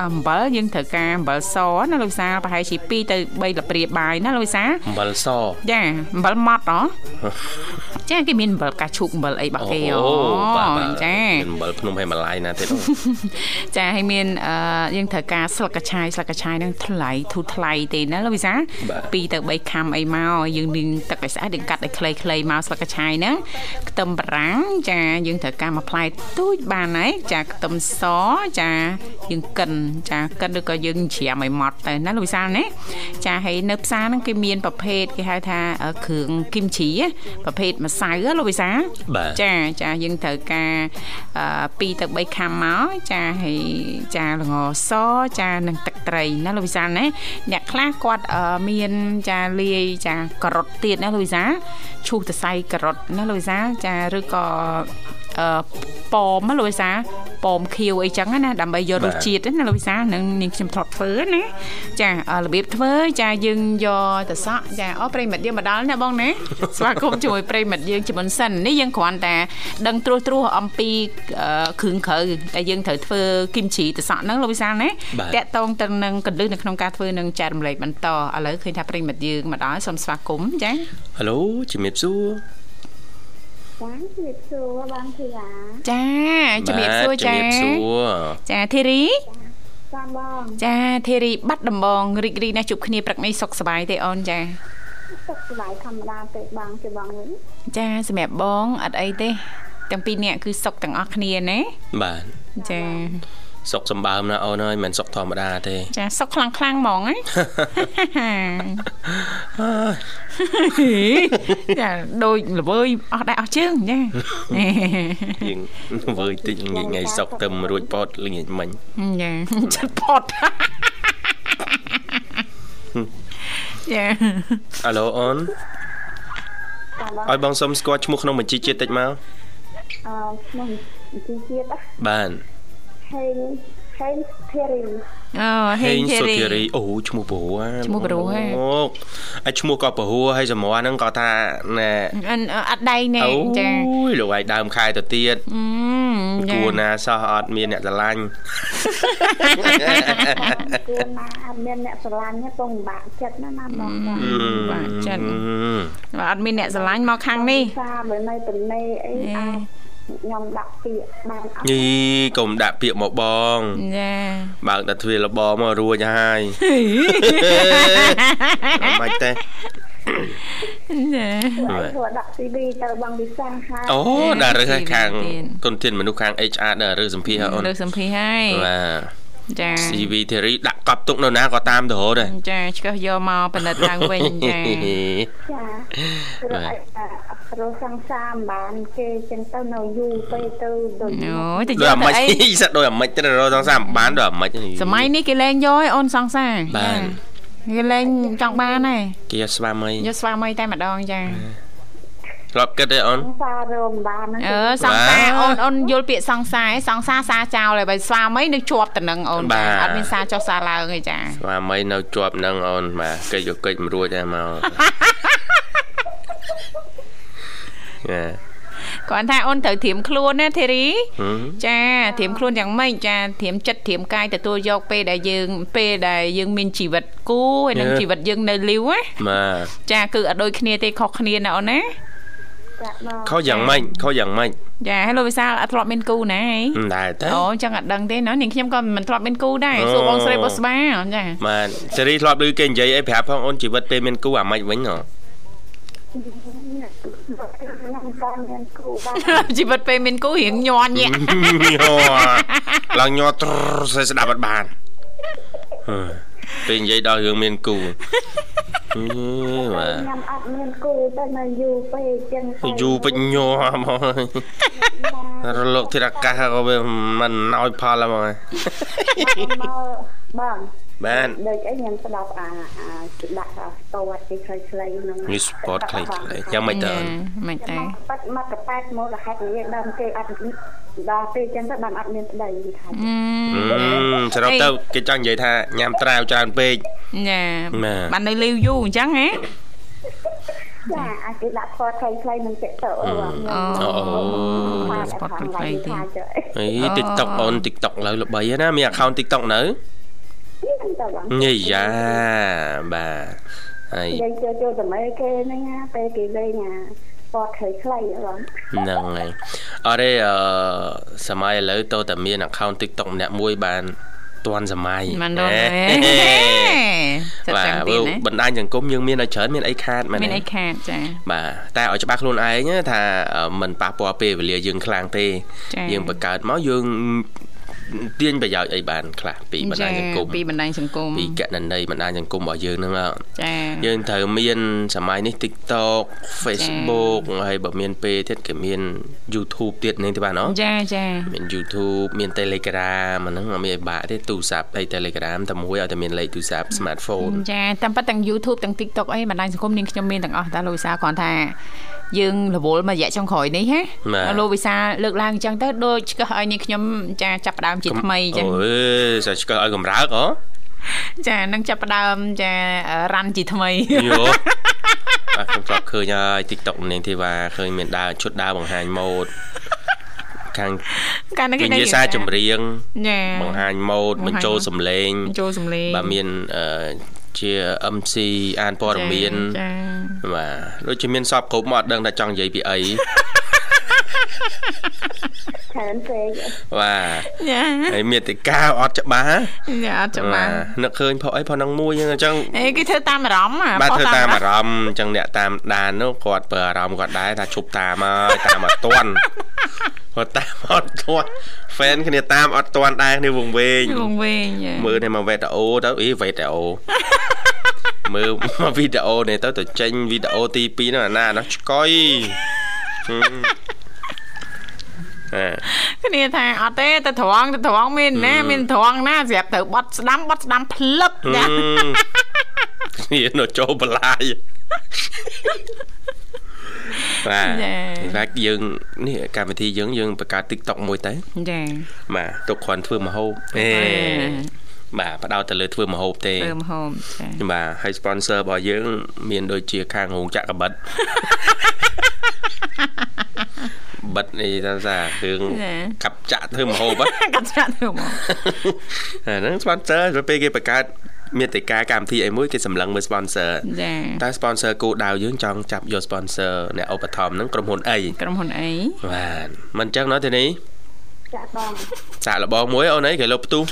Speaker 1: អំបិលយើងត្រូវការអំបិលសណាលោកវិសាលប្រហែលជា2ទៅ3ល្ព្រាបាយណាលោកវិសាល
Speaker 3: អំបិលស
Speaker 1: ចាអំបិលម៉ត់ហ៎ចាគេមានអំបិលផ្កាឈូកអំបិលអីរបស់គេហ៎
Speaker 3: បាទ
Speaker 1: ចា
Speaker 3: មានអំបិលភ្នំហេម៉ាឡាយណាទៀត អូ
Speaker 1: ចាហើយមានអឺយើងត្រូវការស្លឹកកញ្ឆាយស្លឹកកញ្ឆាយហ្នឹងថ្លៃធូរថ្លៃទេណាលោកវិសា
Speaker 3: បាទ
Speaker 1: 2ទៅ3ខាំអីមកឲ្យយើងលាងទឹកឲ្យស្អាតយើងកាត់ឲ្យខ្លីៗមកស្លឹកកញ្ឆាយហ្នឹងខ្ទឹមបារាំងចាយើងត្រូវការមួយផ្លែទូចបានហើយចាខ្ទឹមសចាយើងកិនចាកិនឬក៏យើងច្រាមឲ្យម៉ត់ទៅណាលោកវិសាណាចាហើយនៅផ្សារហ្នឹងគេមានប្រភេទគេហៅថាអឺគ្រឿងគីមជីហ៎ប្រភេទម្សៅហ៎លោកវិសា
Speaker 3: បាទ
Speaker 1: ចាចាយើងត្រូវការ2ទៅ3ខាំមកចាហើយចាល្ងសចានិងទឹកត្រីណាលោកវិសាលណាអ្នកខ្លះគាត់អឺមានចាលាយចាការ៉ុតទៀតណាលោកវិសាលឈូសទៅសៃការ៉ុតណាលោកវិសាលចាឬក៏អឺប៉មណាលោកវិសាលប៉មខៀវអីចឹងណាដើម្បីយករ
Speaker 3: បា
Speaker 1: ស
Speaker 3: ទ
Speaker 1: ជាតិណាលោកវិសាលនឹងនាងខ្ញុំធ្លាប់ធ្វើណាចាអឺរបៀបធ្វើចាយើងយកទៅសក់ចាអូប្រិមិត្តយើងមកដល់ណាបង ណា ស្វាគមន៍ជាមួយប្រិមិត្តយើងជាមុនសិននេះយើងគ្រាន់តែដឹងត្រួសត្រាសអំពីអឺគ្រឿងក្រៅដែលយើងត្រូវធ្វើគីមជីទៅសក់ហ្នឹងលោកវិសាលណា
Speaker 3: បា
Speaker 1: ត
Speaker 3: ទ
Speaker 1: កតងទៅនឹងកន្លឹះនៅក្នុងការធ្វើនឹងចែករំលែកបន្តឥឡូវឃើញថាប្រិមិត្តយើងមកដល់សូមស្វាគមន៍ចា
Speaker 3: ហេឡូជំរាបសួរ
Speaker 5: បានជាសួរបានធីរា
Speaker 1: ចាជំរាបសួរ
Speaker 3: ទ
Speaker 1: ចា
Speaker 3: ជំរាបសួរ
Speaker 1: ចាធីរី
Speaker 5: ចាំបង
Speaker 1: ចាធីរីបាត់ដំបងរីករាយណាស់ជួបគ្នាព្រឹកនេះសុខសប្បាយទេអូនចា
Speaker 5: ទឹកសบายធម្មតាទេបងជាបងវិញ
Speaker 1: ចាសម្រាប់បងអត់អីទេទាំងពីរអ្នកគឺសុខទាំងអស់គ្នាណា
Speaker 3: បាទ
Speaker 1: ចា
Speaker 3: សុកសម្បើមណាអូនអើយមិនសុកធម្មតាទេ
Speaker 1: ចាសុខខ្លាំងខ្លាំងៗហ្មងណា ចាដូចល្វើយអស់ដែរអស់ជើងចា
Speaker 3: យើង វើយតិចងាយងាយសុកទៅមិនរួចពតល្ងាចមិញ
Speaker 1: ចាចិត្តផត់ ចា
Speaker 3: ហេឡូអូន
Speaker 5: ចាំបង
Speaker 3: ឲ្យបងសុំស្គាល់ឈ្មោះក្នុងបញ្ជីជាតិតិចមក
Speaker 5: អឺឈ្មោះជីជាតិ
Speaker 3: បាន
Speaker 5: ហេងហេងធីរី
Speaker 1: អូហេងធី
Speaker 3: សុ
Speaker 1: រី
Speaker 3: ធារីអូឈ្មោះព្រោះ
Speaker 1: ឈ្មោះព្រោះហ៎
Speaker 3: អូហើយឈ្មោះក៏ព្រោះហើយសម្រស់ហ្នឹងក៏ថាណែ
Speaker 1: អិនអត់ដៃណែ
Speaker 3: អូ
Speaker 1: ចា
Speaker 3: យលោកឯងដើមខែទៅទៀត
Speaker 1: អឺ
Speaker 3: គ
Speaker 1: ចា
Speaker 3: ួរណាសោះអត់មានអ្នកស្រឡាញ់
Speaker 5: គួរណាអត់មានអ្នកស្រឡាញ់ទេពងពិបាកចិត្តណាស់ណាបងចា
Speaker 1: បាទចិត្តអត់មានអ្នកស្រឡាញ់មកខាងនេះ
Speaker 5: សារបើនៅទំនេរអី
Speaker 1: អេ
Speaker 5: អាចខ្ញុំដាក់ពាក្យបានអត់
Speaker 3: ញីកុំដាក់ពាក្យមកបង
Speaker 1: ចា
Speaker 3: បើកតែទ្វារលបមករួចហើយអត់បាច់ទេ
Speaker 1: ចា
Speaker 5: ហើយធ្វើដាក់ CV ទៅបងវិសាហើយ
Speaker 3: អូដាក់រើសហើយខាង
Speaker 1: ទៀត
Speaker 3: គុណធានមនុស្សខាង HR ដាក់រើសសម្ភារហើយអូន
Speaker 1: លើសម្ភារហើយ
Speaker 3: បាទ
Speaker 1: ចា
Speaker 3: CV theory ដាក់កប់ទុកនៅណាក៏តាមទៅរហូតដែរ
Speaker 1: ចាឆ្កឹះយកមកផលិតឡើងវិញចា
Speaker 5: ចាព្រោះអីថាព្រោះសង្សារមិនបានគេចឹងទៅនៅយូរពេកទៅដូច
Speaker 1: អូយតែយ
Speaker 3: ដូច
Speaker 1: ក
Speaker 3: អាម៉េ
Speaker 1: ទៅអី
Speaker 3: ច សិតដូចអាម៉េចទៅរកសងសាមបានដូចអាម៉េចនេះ
Speaker 1: សម័យនេះគេលែងយកឯអូនសង្សារ
Speaker 3: បាន
Speaker 1: ចាគេលែងចង់បានឯង
Speaker 3: គេយកស្វាមី
Speaker 1: យកស្វាមីតែម្ដងចា
Speaker 3: ធ្លាប់គិតទេអូន
Speaker 5: សង្សាររមបានហ្នឹង
Speaker 1: អឺសង្សារ
Speaker 3: បា
Speaker 1: អូ
Speaker 3: ទ
Speaker 1: នអូនយល់ពាក្យសង្សារឯងសង្សារសារចោលហើយបើស្វាមីនឹងជាប់ទៅនឹងអូន
Speaker 3: បាទ
Speaker 1: អត់មានសារចុះសារឡើងឯចា
Speaker 3: ស្វាមីនៅជាប់នឹងអូនបាទកិច្ចយកកិច្ចមិនរួច ដែរមកណា
Speaker 1: គ្រាន់តែអូនត្រូវធៀមខ្លួនណាធីរី
Speaker 3: ហឹម
Speaker 1: ចាធรียมខ្លួនយ៉ាងម៉េចចាធรียมចិត្តធรียมកាយទទួលយកពេលដែលយើងពេលដែលយើងមានជីវិតគូហើយនឹង ជីវិតយើងនៅលីវណា
Speaker 3: បាទ
Speaker 1: ចាគឺអត់ដូចគ្នាទេខុសគ្នាណាអូនណា
Speaker 5: ចាក់មក
Speaker 3: ខុសយ៉ាងម៉េចខុសយ៉ាងម៉េច
Speaker 1: ចាហើយលោកវិសាលអត់ធ្លាប់មានគូណាហី
Speaker 3: មិនដែរតែ
Speaker 1: អូចឹងអត់ដឹងទេណានាងខ្ញុំក៏មិនធ្លាប់មានគូដែរ
Speaker 3: អូ
Speaker 1: សួរបងស្រីបុស្បាចា
Speaker 3: បាទសេរីធ្លាប់ឮគេនិយាយអីប្រាប់ផងអូនជីវិតពេលមានគូអាម៉េចវិញហ៎
Speaker 5: ខ្ញុំបានមានគ្រូបាន
Speaker 1: ជីវិតពេលមានគូរៀងញ័រញាក់
Speaker 3: ញ័រឡើងញ័រត្រស្អីស្ដាប់អត់ បានហឺពេលនិយាយដល់រឿងមាន គូអឺបាទ
Speaker 5: ខ្ញុំអត់មានគ្រូតែនៅយូរពេកចឹងទៅ
Speaker 3: យូរពេចញ័រហ្មងហើយរលកធារកាសក៏វាមិនឲ្យផលហ្មងហើយ
Speaker 5: មកបង
Speaker 3: បាន
Speaker 5: ដូចអីខ្ញុំស្ដាប់អាអាដាក់អាស្ទាត់ទីខ្លីៗហ្នឹង
Speaker 3: នេះ sport ខ្លីៗយ៉ាងម៉េចតើអូន
Speaker 1: មិនតែ
Speaker 5: បាត់មកកប៉ែតមករហេតុនិយាយដើមគេអត់ដល់ពេលចឹងទៅបានអត់មានប្តីថា
Speaker 1: អឺ
Speaker 3: អឺមសរុបទៅ
Speaker 1: អី
Speaker 3: គេចង់និយាយថាញ៉ាំត្រាវច្រើនពេក
Speaker 1: ចា
Speaker 3: ណា
Speaker 1: បាននៅលីវយូរអញ្ចឹងហ៎
Speaker 5: ចាអាចគេដាក់ស្ទាត់ខ្លីៗនឹងចិត្តទៅអូខ្ញុំ
Speaker 1: អូ
Speaker 3: អូអូ
Speaker 5: ថា
Speaker 1: ស្ពត
Speaker 5: ថា
Speaker 1: ខ្លីៗទៀត
Speaker 5: ថាចេះអី
Speaker 3: អី TikTok អូន TikTok ឥឡូវល្បីហើយណាមាន account TikTok នៅ
Speaker 5: ហ្នឹងទៅបង
Speaker 3: ញីយ៉ាបាទហើយ
Speaker 5: និយាយចូលចូលតែគេហ្នឹងណាពេលគេលេងអាពណ៌ខ្លីខ្លីៗហ្នឹង
Speaker 3: ហ្នឹងហើយអរេអឺសម័យឥឡូវតើតាមាន account TikTok ម្នាក់មួយបានតាន់សម័យ
Speaker 1: មិនដល់ទេ ចា
Speaker 3: បាទ
Speaker 1: ចាំទៀតណា
Speaker 3: បណ្ដាញសង្គមយើងមានឲ្យច្រើនមានអីខាតមែនទេ
Speaker 1: មានអីខាតចា
Speaker 3: បាទតែឲ្យច្បាស់ខ្លួនឯងណាថាអឺមិនប៉ះពាល់ពេលវេលាយើងខ្លាំងទេ
Speaker 1: ចា៎
Speaker 3: យើងបង្កើតមកយើងទាញប្រយោជន៍អីបានខ្លះពីបណ្ដាញសង្គម
Speaker 1: ពីបណ្ដាញសង្គម
Speaker 3: ពីកណន័យបណ្ដាញសង្គមរបស់យើងហ្នឹងណា
Speaker 1: ចា
Speaker 3: យើងត្រូវមានសម័យនេះ TikTok Facebook ហើយបើមានពេលទៀតក៏មាន YouTube ទៀតហ្នឹងទេបាទណ
Speaker 1: ចាចា
Speaker 3: មាន YouTube មាន Telegram អាហ្នឹងអត់មានឲ្យបាក់ទេទូរស័ព្ទអី Telegram តែមួយឲ្យតែមានលេខទូរស័ព្ទ smartphone
Speaker 1: ចាតាមពិតទាំង YouTube ទាំង TikTok អីបណ្ដាញសង្គមនាងខ្ញុំមានទាំងអស់តែលោកវិសាលគ្រាន់ថាយើងរវល់មករយៈចុងក្រោយនេះហ
Speaker 3: បាទ
Speaker 1: ៎លោកវិសាលលើកឡើងអញ្ចឹងទៅដូចឆ្កឹះឲ្យនាងខ្ញុំចាចាប់ផ្ដើមជាថ្មីអញ្ចឹង
Speaker 3: អូយសាច់ឆ្កឹះឲ្យកំរើកអូ
Speaker 1: ចានឹងចាប់ផ្ដើមចារ៉ាន់ជាថ្មី
Speaker 3: យោបាទខ្ញុំធ្លាប់ឃើញហើយ TikTok នាងធីវ៉ាឃើញមានដើរឈុតដើរបង្ហាញម៉ូដខាង
Speaker 1: កាលនេះ
Speaker 3: វិញ្ញាសាចម្រៀង
Speaker 1: ចា
Speaker 3: បង្ហាញម៉ូដ
Speaker 1: បង្ហាញ
Speaker 3: បញ្ចូលសំឡេង
Speaker 1: ចូលសំឡេង
Speaker 3: បាទមានអឺជា MC អានព័ត៌មាន
Speaker 1: ចា
Speaker 3: បាទដូចជាមានសពគ្រប់មកអត់ដឹងថាចង់និយាយពីអី
Speaker 5: ច្រើនពេក
Speaker 3: បាទ
Speaker 1: ចា
Speaker 3: ហើយមេតិកាអត់ច្បាស់
Speaker 1: ចាអត់ច្បាស់
Speaker 3: នឹកឃើញផុសអីផុសនឹងមួយហ្នឹងអញ្ចឹង
Speaker 1: អេគេធ្វើតាមអារម្មណ៍ហ៎
Speaker 3: បាទ
Speaker 1: ប៉ះ
Speaker 3: ធ្វើតាម
Speaker 1: អារម្មណ៍
Speaker 3: អារម្មណ៍អញ្ចឹងអ្នកតាមដាននោះគាត់ប្រើអារម្មណ៍គាត់ដែរថាឈប់តាមហើយតាមអត់ត ន់គាត់តាមអត់តន់ fan គ្នាតាមអត់តន់ដែរគ្នាវងវែង
Speaker 1: វងវែងចា
Speaker 3: មើលតែមកវីដេអូទៅអីវីដេអូ មើលមកវីដេអូនេះទៅទៅចេញវីដេអូទី2នោះអាណានោះឆ្កុយ ហឹ មអេ
Speaker 1: គ្នាថាអត់ទេតែត្រង់តែត្រង់មានណាមានត្រង់ណាស្រាប់ទៅបត់ស្ដាំបត់ស្ដាំភ្លឹប
Speaker 3: អឺ
Speaker 1: ចា
Speaker 3: នេះនៅចូលបលាយបាទតែយើងនេះកម្មវិធីយើងយើងបង្កើត TikTok មួយទៅ
Speaker 1: ចា
Speaker 3: បាទទុកគ្រាន់ធ្វើមហូបអេបាទបដោតទៅលើធ្វើមហូបទេ
Speaker 1: ធ្វើមហូប ចា
Speaker 3: បាទហើយ sponsor របស់យើង មានដូចជាខាងរោងចក្រកបិតបិតនេះថាថាគ្រឿងកាប់ចាក់ធ្វើមហូបហ្នឹង
Speaker 1: កាត់ស្រាក់ធ្វើមក
Speaker 3: អា ហ្នឹង sponsor ទៅពេលគេបង្កើតមេតិកាកម្មវិធីអីមួយគេសម្លឹងមើល sponsor
Speaker 1: ចា
Speaker 3: តែ sponsor គោលដៅយើងចង់ចាប់យក sponsor អ្នកឧបត្ថម្ភហ្នឹងក្រុមហ៊ុនអី
Speaker 1: ក្រុមហ៊ុនអី
Speaker 3: បាទមិនអញ្ចឹងណោះទេនេះ
Speaker 5: ចាក់បង
Speaker 3: សាក់លបងមួយអូនអីគេលុបផ្ទុះ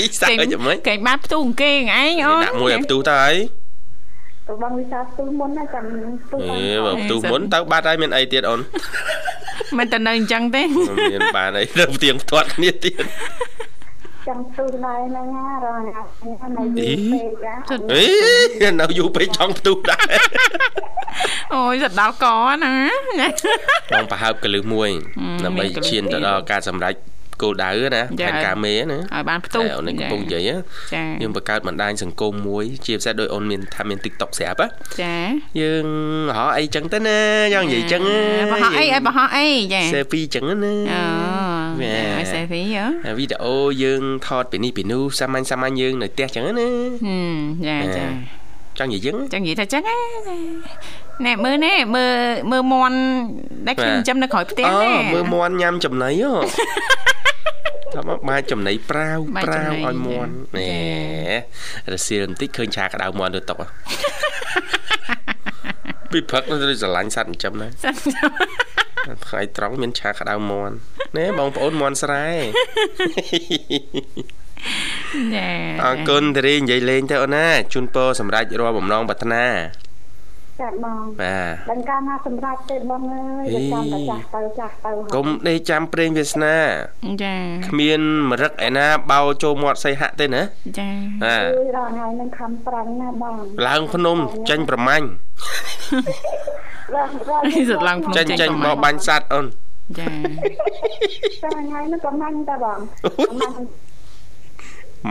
Speaker 3: អីសាក់អីយ៉ាងម៉េច
Speaker 1: គេបានផ្ទុះអង្គគេងឯងអូន
Speaker 3: ដាក់មួយឲ្យផ្ទុះទៅហើយ
Speaker 5: ទៅបងវិសាស្ទូមុនណាចាំស្ទូ
Speaker 3: អ
Speaker 5: បាន
Speaker 3: េបើផ្ទុះមុនទៅបាត់ហើយមានអីទៀតអូន
Speaker 1: មិនតែនៅអញ្ចឹងទេ
Speaker 3: មិនមានបានអី ទៅផ្ទៀងផ្ទាត់គ្នាទៀត
Speaker 5: ចាំស្ទូដែរហ្នឹងណារងអាហ្នឹងនៅយូរពេកណា
Speaker 3: អេនៅយូរពេកចង់ផ្ទុះដែរ
Speaker 1: អូយសដល់កណាចា
Speaker 3: ចង់ប្រហើបកលឹះមួយ
Speaker 1: ម
Speaker 3: ដើម្បី
Speaker 1: មានកលឹះ
Speaker 3: ឈានទៅ
Speaker 1: ទៀត
Speaker 3: ដល់ការសម្រេចគោលដៅណា
Speaker 1: ចា
Speaker 3: ផែនការមេណា
Speaker 1: ឲ្យបានផ្ទុះ
Speaker 3: តែអូននេះកំពុងនិយាយណា
Speaker 1: ចា
Speaker 3: យើងបង្កើតបណ្ដាញសង្គមមួយជាពិសេសដោយអូនមានថាមាន TikTok ស្រាប់ហ៎
Speaker 1: ចា
Speaker 3: យើងហៅអីចឹងទៅណាយ៉ាងនិយាយចឹង
Speaker 1: បោះអីឲ្យបោះអីចា
Speaker 3: សេពីចឹងណា
Speaker 1: អូឲ្យសេវីអូ
Speaker 3: ហើយវីដេអូយើងថតពីនេះពីនោះសាមញ្ញសាមញ្ញយើងនៅផ្ទះចឹងណា
Speaker 1: ហឹមចាចា
Speaker 3: ចង់និយាយចឹង
Speaker 1: ចឹងនិយាយថាចឹងហ៎ណែមើលណែមើលមើលមន់ដែលខ្ញុំចិញ្ចឹមនៅក្រោយផ្ទះ
Speaker 3: អូ
Speaker 1: ណែ
Speaker 3: មើល មន់ញ៉ាំចំណីហ៎ តាមមកបាយចំណីប្រាវ
Speaker 1: បាយ
Speaker 3: ប្រា
Speaker 1: ចំណី
Speaker 3: វឲ្យមន់
Speaker 1: ចា
Speaker 3: ណែរសៀលបន្តិចឃើញឆាកដៅមន់ទៅតុក ហ៎ ពីព្រឹកទៅស្រឡាញ់សត្វចិញ្ចឹមណា
Speaker 1: សិនចាំ
Speaker 3: ថ្ងៃត្រង់មានឆាក្តៅមន់ណែបងប្អូនមន់ស្រែ
Speaker 1: ចា
Speaker 3: អរគុណតារីនិយាយលេងទៅអូនណាជូនពរសម្រាប់រាល់បំណងប្រាថ្នា
Speaker 5: ចាបង
Speaker 3: បាទ
Speaker 5: ដល់កាលណាសម្រាប់ទេបងអើយ
Speaker 3: អី
Speaker 5: យើងចាំតែចាស់ទៅចាស់ទៅហើ
Speaker 3: គុំដេកចាំព្រេងវាសនា
Speaker 1: ចា
Speaker 3: គ្មានមរឹកឯណាបោចូលមាត់សីហៈទេណា
Speaker 1: ចា
Speaker 3: បាទ
Speaker 5: យជួយរាល់ថ្ងៃនឹងខំប្រឹងណាបង
Speaker 3: ឡើងភ្នំចាញ់ប្រមាញ់
Speaker 5: រាល់រាល់
Speaker 1: នេះសត្វឡើងភ្នំ
Speaker 3: ចាញ់ចាញ់មកបាញ់សัตว์អូន
Speaker 1: ចា
Speaker 5: ចាំថ្ងៃនេះក៏មិនដែរបង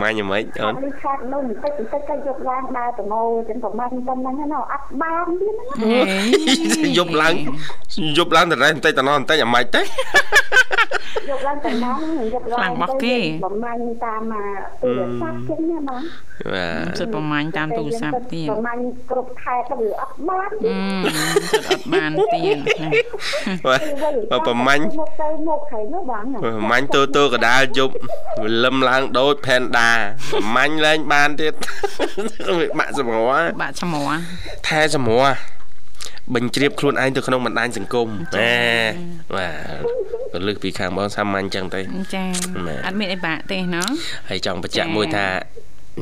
Speaker 3: ម៉ាញ់យ៉ាងម៉េចអូន
Speaker 5: លឺខាត់នោះបន្តិចបន្តិចក៏យកឡើងដើរទៅងោចឹងប្រមាណប៉ុណ្ណឹងណាអត់បានទៀតណា
Speaker 3: យប់ឡើងយប់ឡើងតរ៉ែបន្តិចតណោះបន្តិចអាម៉េចទៅ
Speaker 5: យកឡើងទៅណាយកឡើងប្រមាណតាមទូរស័ព្ទចឹងណាបង
Speaker 3: បាទ
Speaker 1: សិតប្រមាញ់តាមទូរស័ព្ទទៀត
Speaker 5: ប្រមាណគ្រប់ខែទៅវាអត់បាន
Speaker 1: អឺសិតអត់បានទៀតណា
Speaker 3: បើប្រមាញ់
Speaker 5: មកទៅមកហើយណាបងណា
Speaker 3: ប្រមាញ់តូតូកដាលយប់វលឹមឡើងដូចផែនដាប្រមាញ់ឡើងបានទៀតវាបាក់សម្រោះ
Speaker 1: បាក់ឈ្មោះ
Speaker 3: ថែសម្រស់បញ្ជ្រាបខ្លួនឯងទៅក្នុងបណ្ដាញសង្គមណែបាទក៏លើកពីខាងបងសាមញ្ញចឹងទៅ
Speaker 1: ចា
Speaker 3: បាទ
Speaker 1: អត់មានអីបាក់ទេណោះ
Speaker 3: ហើយចង់បញ្ជាក់
Speaker 1: ចា៎
Speaker 3: មួយថា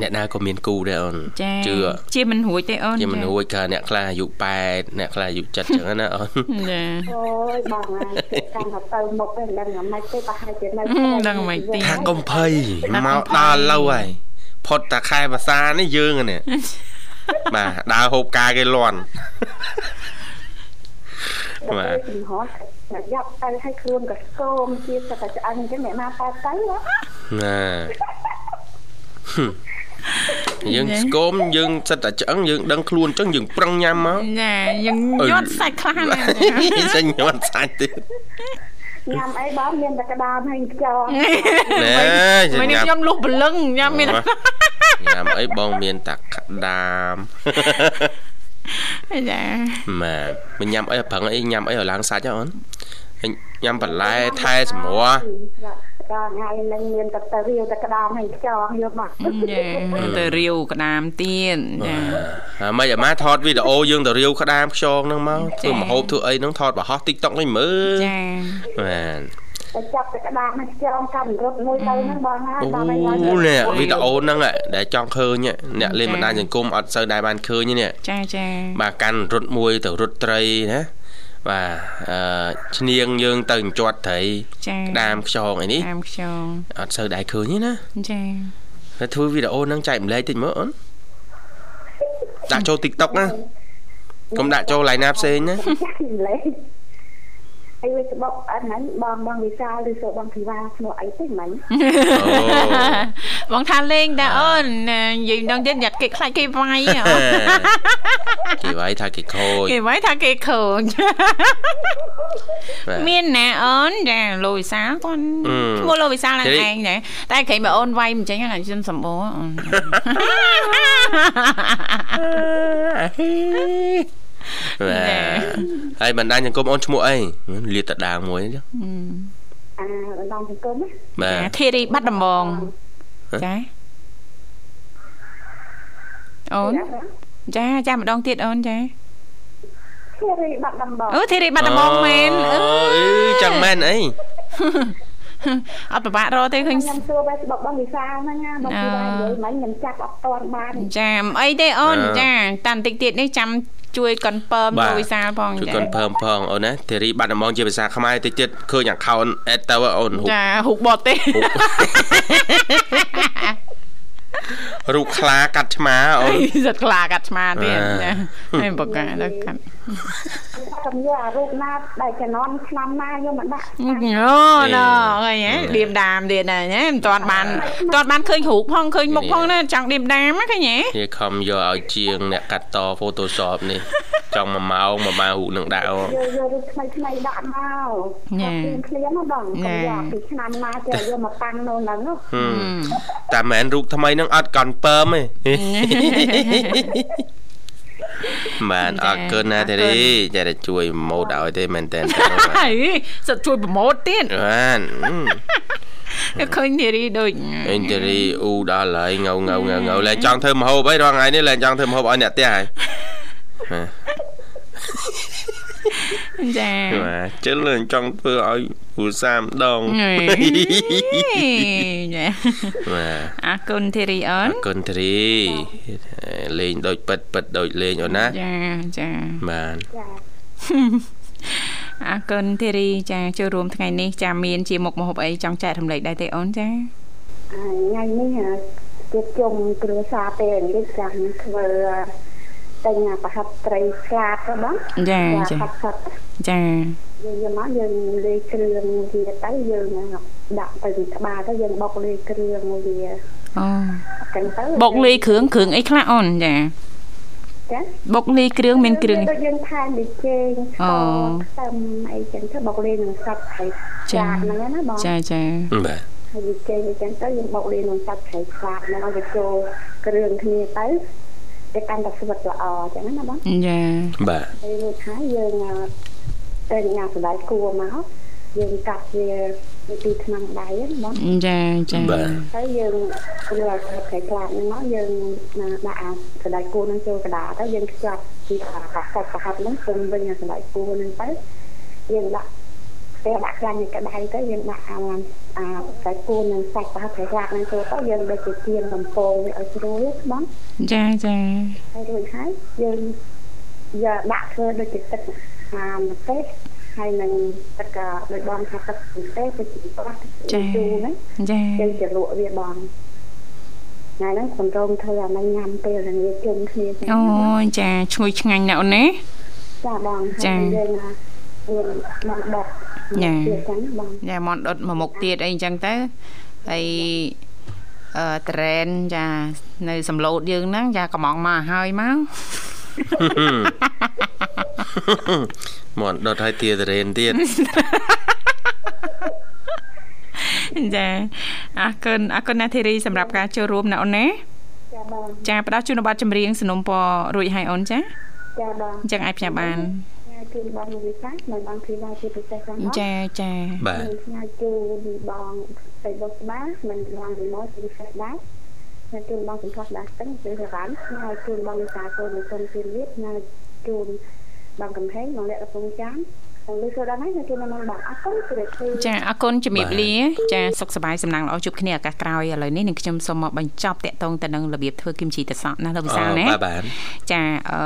Speaker 3: អ្នកណាក៏មានគូដែរអូន
Speaker 1: ចា
Speaker 3: ជឿ
Speaker 1: ជាមិនរួចទេអូន
Speaker 3: ជាមិនរួចកើអ្នកខ្លះអាយុ8អ្នកខ្លះអាយុ7ចឹង ណាអូន
Speaker 1: ចា
Speaker 5: អូយបងអើយកាន់តែទៅមុខឯងដឹងយ៉ាងម៉េចទេប្រហែលជានៅ
Speaker 1: ហ៊ឹមដឹងមិនទៀត
Speaker 3: ថាកុំភ័ យមកដល់ឥឡូវហើយផុតតាខែភាសានេះយើងហ្នឹង បាទដើរហូបការគេលន់
Speaker 5: បាទចំហតែយ៉ាប់ទៅឲ្យខ្លួនក៏ស្គមទៀតតែឆ្អឹងអញ្ចឹងអ្នកណាតែទៅ
Speaker 3: ណា យើងស្គមយើងសិតតែឆ្អឹងយើងដឹងខ្លួនអញ្ចឹងយើងប្រឹងញ៉ាំមក
Speaker 1: ចាយើង
Speaker 3: អឺ
Speaker 1: យត់សាច់ខ្លះណាស់
Speaker 3: សញ្ញាសា ច់ ទៀត
Speaker 5: ញ៉ាំអីបងមានតែក្តាមហើយខ្យល់
Speaker 3: ណែ
Speaker 1: មិ
Speaker 3: ញ៉ាំ
Speaker 1: នខ្ញុំលុះព្រលឹងញ៉ាំមាន
Speaker 3: ញ៉ាំអីបងមានតាក្ដាម
Speaker 1: ចា
Speaker 3: ម៉ែមិនញ៉ាំអីឲ្យប្រឹងអីញ៉ាំអីឲ្យឡើងសាច់ហ៎អូនហើយញ៉ាំបន្លែថែសម្រស់
Speaker 5: រាល់ថ្ងៃនឹងមានតែទៅរាវតែក្តាមហើយខ្យល់យកមក
Speaker 1: ចាទៅរាវក្តាមទៀតចា
Speaker 3: អាមិនអាម៉ាថតវីដេអូយើងទៅរាវក្ដាមខ្យងហ្នឹងមកធ្វើម្ហូបធ្វើអីហ្នឹងថតបង្ហោះ TikTok នេះមើល
Speaker 1: ចា
Speaker 3: បាទ
Speaker 5: តែចាប់តែក្តាមហើយខ្យល់កម្មរត់មួយទៅហ្នឹងបងណា
Speaker 3: អូ
Speaker 5: តាមឲ្យឡើង
Speaker 3: នេះវីដេអូហ្នឹងឯងដែលចង់ឃើញឯងអ្នកលេងបណ្ដាញសង្គមអត់សូវដែរបានឃើញទេនេះ
Speaker 1: ចាចា
Speaker 3: បាទកាន់រត់មួយទៅរត់ត្រីណាបាទអឺឈ្នៀងយើងទៅអញ្ជាត់ត្រី
Speaker 1: ចា
Speaker 3: ក្តាមខ្យងអីនេះ
Speaker 1: តាមខ្យង
Speaker 3: អត់សូវដែរឃើញទេណា
Speaker 1: ចា
Speaker 3: តែធ្វើវីដេអូហ្នឹងចែកម្លែកតិចមើលអូនដាក់ចូល TikTok ណាកុំដាក់ចូល line ណាផ្សេងណា
Speaker 5: ចាំលេងអី Facebook អត់ហ្នឹងបងបងវិសាលឬសូបងធីវ៉ាឈ្មោះអីទេមិញ
Speaker 1: បងថាលេងតាអូនណានិយាយម្ដងទៀតយ៉ាត់គេខ្លាចគេវាយ
Speaker 3: អូគេវាយថាគេខូច
Speaker 1: គេវាយថាគេខូច
Speaker 3: បាទ
Speaker 1: មានណាអូនចាលោកវិសាលគាត់
Speaker 3: អឺ
Speaker 1: ឈ្មោះលោកវិសាលហ្នឹង
Speaker 3: ទេ
Speaker 1: ឯងណាតែក្រែងបើអូនវាយមិនចឹងណាខ្ញុំសម្បូរអូន
Speaker 3: បាទ
Speaker 1: ណែ
Speaker 3: ហើយបណ្ដាញសង្គមអូនឈ្មោះអីលាតតាដាងមួយចុះ
Speaker 5: អាបណ្ដងសង្គមណា
Speaker 3: បាទ
Speaker 1: ចាធីរីបាត់ដំបង
Speaker 3: ហ៎
Speaker 1: ចាអូនចាចាម្ដងទៀតអូនចា
Speaker 5: ឈ្មោះរីបាត់ដំបង
Speaker 1: អូធីរីបាត់ដំបងមែនអឺ
Speaker 3: អូអឺចឹងមែនអី
Speaker 1: អត់ពិបាករកទេឃើញ
Speaker 5: ខ្ញុំសួរ Facebook បងវិសាលហ្នឹងណាបងវិសាលនិយាយមិញខ្ញុំចាប់អត់តាន់បាន
Speaker 1: ចាមិនអីទេអូនចាតាន់តិចទៀតនេះចាំជួយ confirm លោកវិសាលផង
Speaker 3: ជួយ
Speaker 1: ចា
Speaker 3: កុនភើមផងអូនណាទេរីបាត់ដំងជាភាសាខ្មែរតិចទៀតឃើញ account add ទៅអូនរូប
Speaker 1: ចាហុកបត់ទេ
Speaker 3: រូបខ្លាកាត់ឆ្មាអូន
Speaker 1: សិតខ្លាកាត់ឆ្មាទៀត
Speaker 3: បាទ
Speaker 1: ចាហើយបកកាដល់កាត់
Speaker 5: ខ្ញុំយកអារូបណាដែលចំណន់ឆ្នាំណាយកមកដាក់
Speaker 1: អូណ៎អីហ៎ឌៀមដាមទៀតណាហ៎មិនទាន់បានមិនទាន់បានឃើញរូបផងឃើញមុខផងណាចង់ឌៀមដាមណាឃើញហ៎
Speaker 3: នេះខំយកឲ្យជាងអ្នកកាត់ត Photoshop នេះចង់មួយម៉ោងមួយម៉ោងរូបនឹងដាក់អូន
Speaker 5: យកយករូបថ្មីថ្មីៗដាក់មក
Speaker 1: ញ៉ែ
Speaker 5: ខ្ញុំឃ្លៀមណាបង
Speaker 1: ញ៉ែ
Speaker 5: ខ្ញុំយកពីឆ្នាំណាទៅយកមកតាំងនៅហ្នឹងណា
Speaker 3: ហឹមតែមិនមែនរូបថ្មីនឹងអត់កនពើ មទេ បានអរគុណណាទេរីចេះតែជួយម៉ូតឲ្យទេមែនតើ
Speaker 1: អីសិតជួយប្រម៉ូទទៀត
Speaker 3: បានអឺ
Speaker 1: ឃើញនារីដូច
Speaker 3: អេនតេរីអ៊ូដល់ហើយងៅងៅងៅងៅលែងចង់ធ្វើម្ហូបអីរាល់ថ្ងៃនេះលែងចង់ធ្វើម្ហូបឲ្យអ្នកផ្ទះហើយ
Speaker 1: ចា
Speaker 3: បាទជិលនឹងចង់ធ្វើឲ្យគ្រូសាមដង
Speaker 1: ហេ ចា
Speaker 3: បាទ
Speaker 1: អរគុណធីរីអូ
Speaker 3: អ
Speaker 1: ន
Speaker 3: រគុណទ្រីលេងដូចប៉ិតប៉ិតដូចលេងអូនណា
Speaker 1: ចា ចា
Speaker 3: បាទ
Speaker 1: អរគុណធីរីចាចូលរួមថ្ងៃនេះចាមានជាមុខម្ហូបអីចង់ចែករំលែកដែរទេអូនចា
Speaker 6: ថ្ងៃនេះទៀតជុំគ្រួសារពេលនេះចាំធ្វើទិញប្រហិតត្រីស្លាតទៅបង
Speaker 1: ចាចា
Speaker 6: ប្រហិត
Speaker 1: ចា
Speaker 6: យើងយកមកយើងលាយគ្រឿងវាទៅយើងដាក់ទៅក្បាលទៅយើងបុកលាយគ្រឿងវា
Speaker 1: អូ
Speaker 6: ចឹងទៅ
Speaker 1: បុកលីគ្រឿងគ្រឿងអីខ្លះអូនចា
Speaker 6: ចា
Speaker 1: បុកលីគ្រឿងមានគ្រឿង
Speaker 6: ដូចយើងថែមប៊ីចេង
Speaker 1: អូ
Speaker 6: ខ្ទឹមអីចឹងទៅបុកលាយនឹងសាច់ហើយ
Speaker 1: ចា
Speaker 6: ចាហ្នឹងណាបង
Speaker 1: ចាចា
Speaker 3: បាទ
Speaker 6: ហើយវាចេញវាចឹងទៅយើងបុកលាយនំសាច់ត្រីខ្លាហ្នឹងឲ្យវាចូលគ្រឿងគ្នាទៅវាកាន់តែស្វិតល្អចឹងណាបង
Speaker 1: ចា
Speaker 3: បាទ
Speaker 6: ហើយរួចហើយយើងទៅញ៉ាំសណ្ដែកគួរមកយើងកាត់វាពីឆ្នាំដៃណាបង
Speaker 1: ចាចា
Speaker 3: បាទ
Speaker 6: ហើយយើងព្រោះសាច់ត្រីខ្លាហ្នឹងមកយើងដាក់អាសណ្ដែកគួរហ្នឹងចូលកណ្ដាលទៅយើងខ្ជាប់ពីខាសាច់ប្រហិតហ្នឹងជុំវិញអាសណ្ដែកគួរហ្នឹងទៅយើងដាក់ពេលដាក់ខ្លាញ់នៅក្ដៅទៅយើងដាក់អាអាសាច់គួរនឹងសាច់ប្រហិតប្រហាក់ហ្នឹងចូលទៅយើងដូចជាទៀនកំពងវាឲ្យស្រួយស្បង
Speaker 1: ចាចា
Speaker 6: ហើយរួចហើយយើងយកដាក់ធ្វើដូចជាទឹកអាម្ទេសហើយនឹងទឹកអ่าដូចបងថាទឹកម្ទេសទៅជាប្រហិត
Speaker 1: ចា
Speaker 6: ជូរហ្នឹង
Speaker 1: ចា
Speaker 6: យើងជាលក់វាបងថ្ងៃហ្នឹងខ្ញុំរងធ្វើអាហ្នឹងញ៉ាំពេលរងាជុំគ្នាចឹង
Speaker 1: អូ
Speaker 6: ណា
Speaker 1: យចាឈ្ងុយឆ្ងាញ់ណាស់អូនណា
Speaker 6: ចាបង
Speaker 1: ចា
Speaker 6: ហើយយើងយើងមកដក
Speaker 1: ចា
Speaker 6: ទៀតចឹងណាបង
Speaker 1: ចាមន់ដុតមួយមុខទៀតអីអញ្ចឹងទៅហើយអឺត្រែនចានៅសំឡូតយើងហ្នឹងចាកំងមកហើយ មក
Speaker 3: មន់ដុតឲ្យទៀតរ៉េនទៀត
Speaker 1: ចាអរគុណអរគុណណាស់ធីរីសម្រាប់ការចូលរួមណាអូនណា
Speaker 6: ចាបង
Speaker 1: ចាផ្ដល់ជូននៅប័ណ្ណចម្រៀងสนមពររួចហើយអូនចា
Speaker 6: ចាបង
Speaker 1: អញ្ចឹងអាចផ្សាយបាន
Speaker 6: ញ៉ាំជូនបងវិសានៅបងធីវ៉ាជាពិសេសផងបង
Speaker 1: ចាចា
Speaker 3: បាទ
Speaker 6: ញ៉ាំជូនបងទៅបុកស្បាមិនបងវិមលជាពិសេសដែរញ៉ាំជូនបងសង្ឃោះដាស់តឹងពេលរ៉ាន់ញ៉ាំជូនបងវិសាកូននៅក្រុមជឿនលៀបញ៉ាំជូនបងកំហែងបងលក្ខកំពង់ចាមហើយលើចូលដល់ហើយញ៉ាំជូនបងបងអត់ទៅជ្រាបជូន
Speaker 1: ចាអរគុណជំរាបលាចាសុខសប្បាយសំណាងល្អជួបគ្នាឱកាសក្រោយឥឡូវនេះនឹងខ្ញុំសូមមកបញ្ចប់តាក់ទងទៅនឹងរបៀបធ្វើគីមជីតសក់ណាលោកវិសាលណា
Speaker 3: បាទបាទ
Speaker 1: ចាអឺ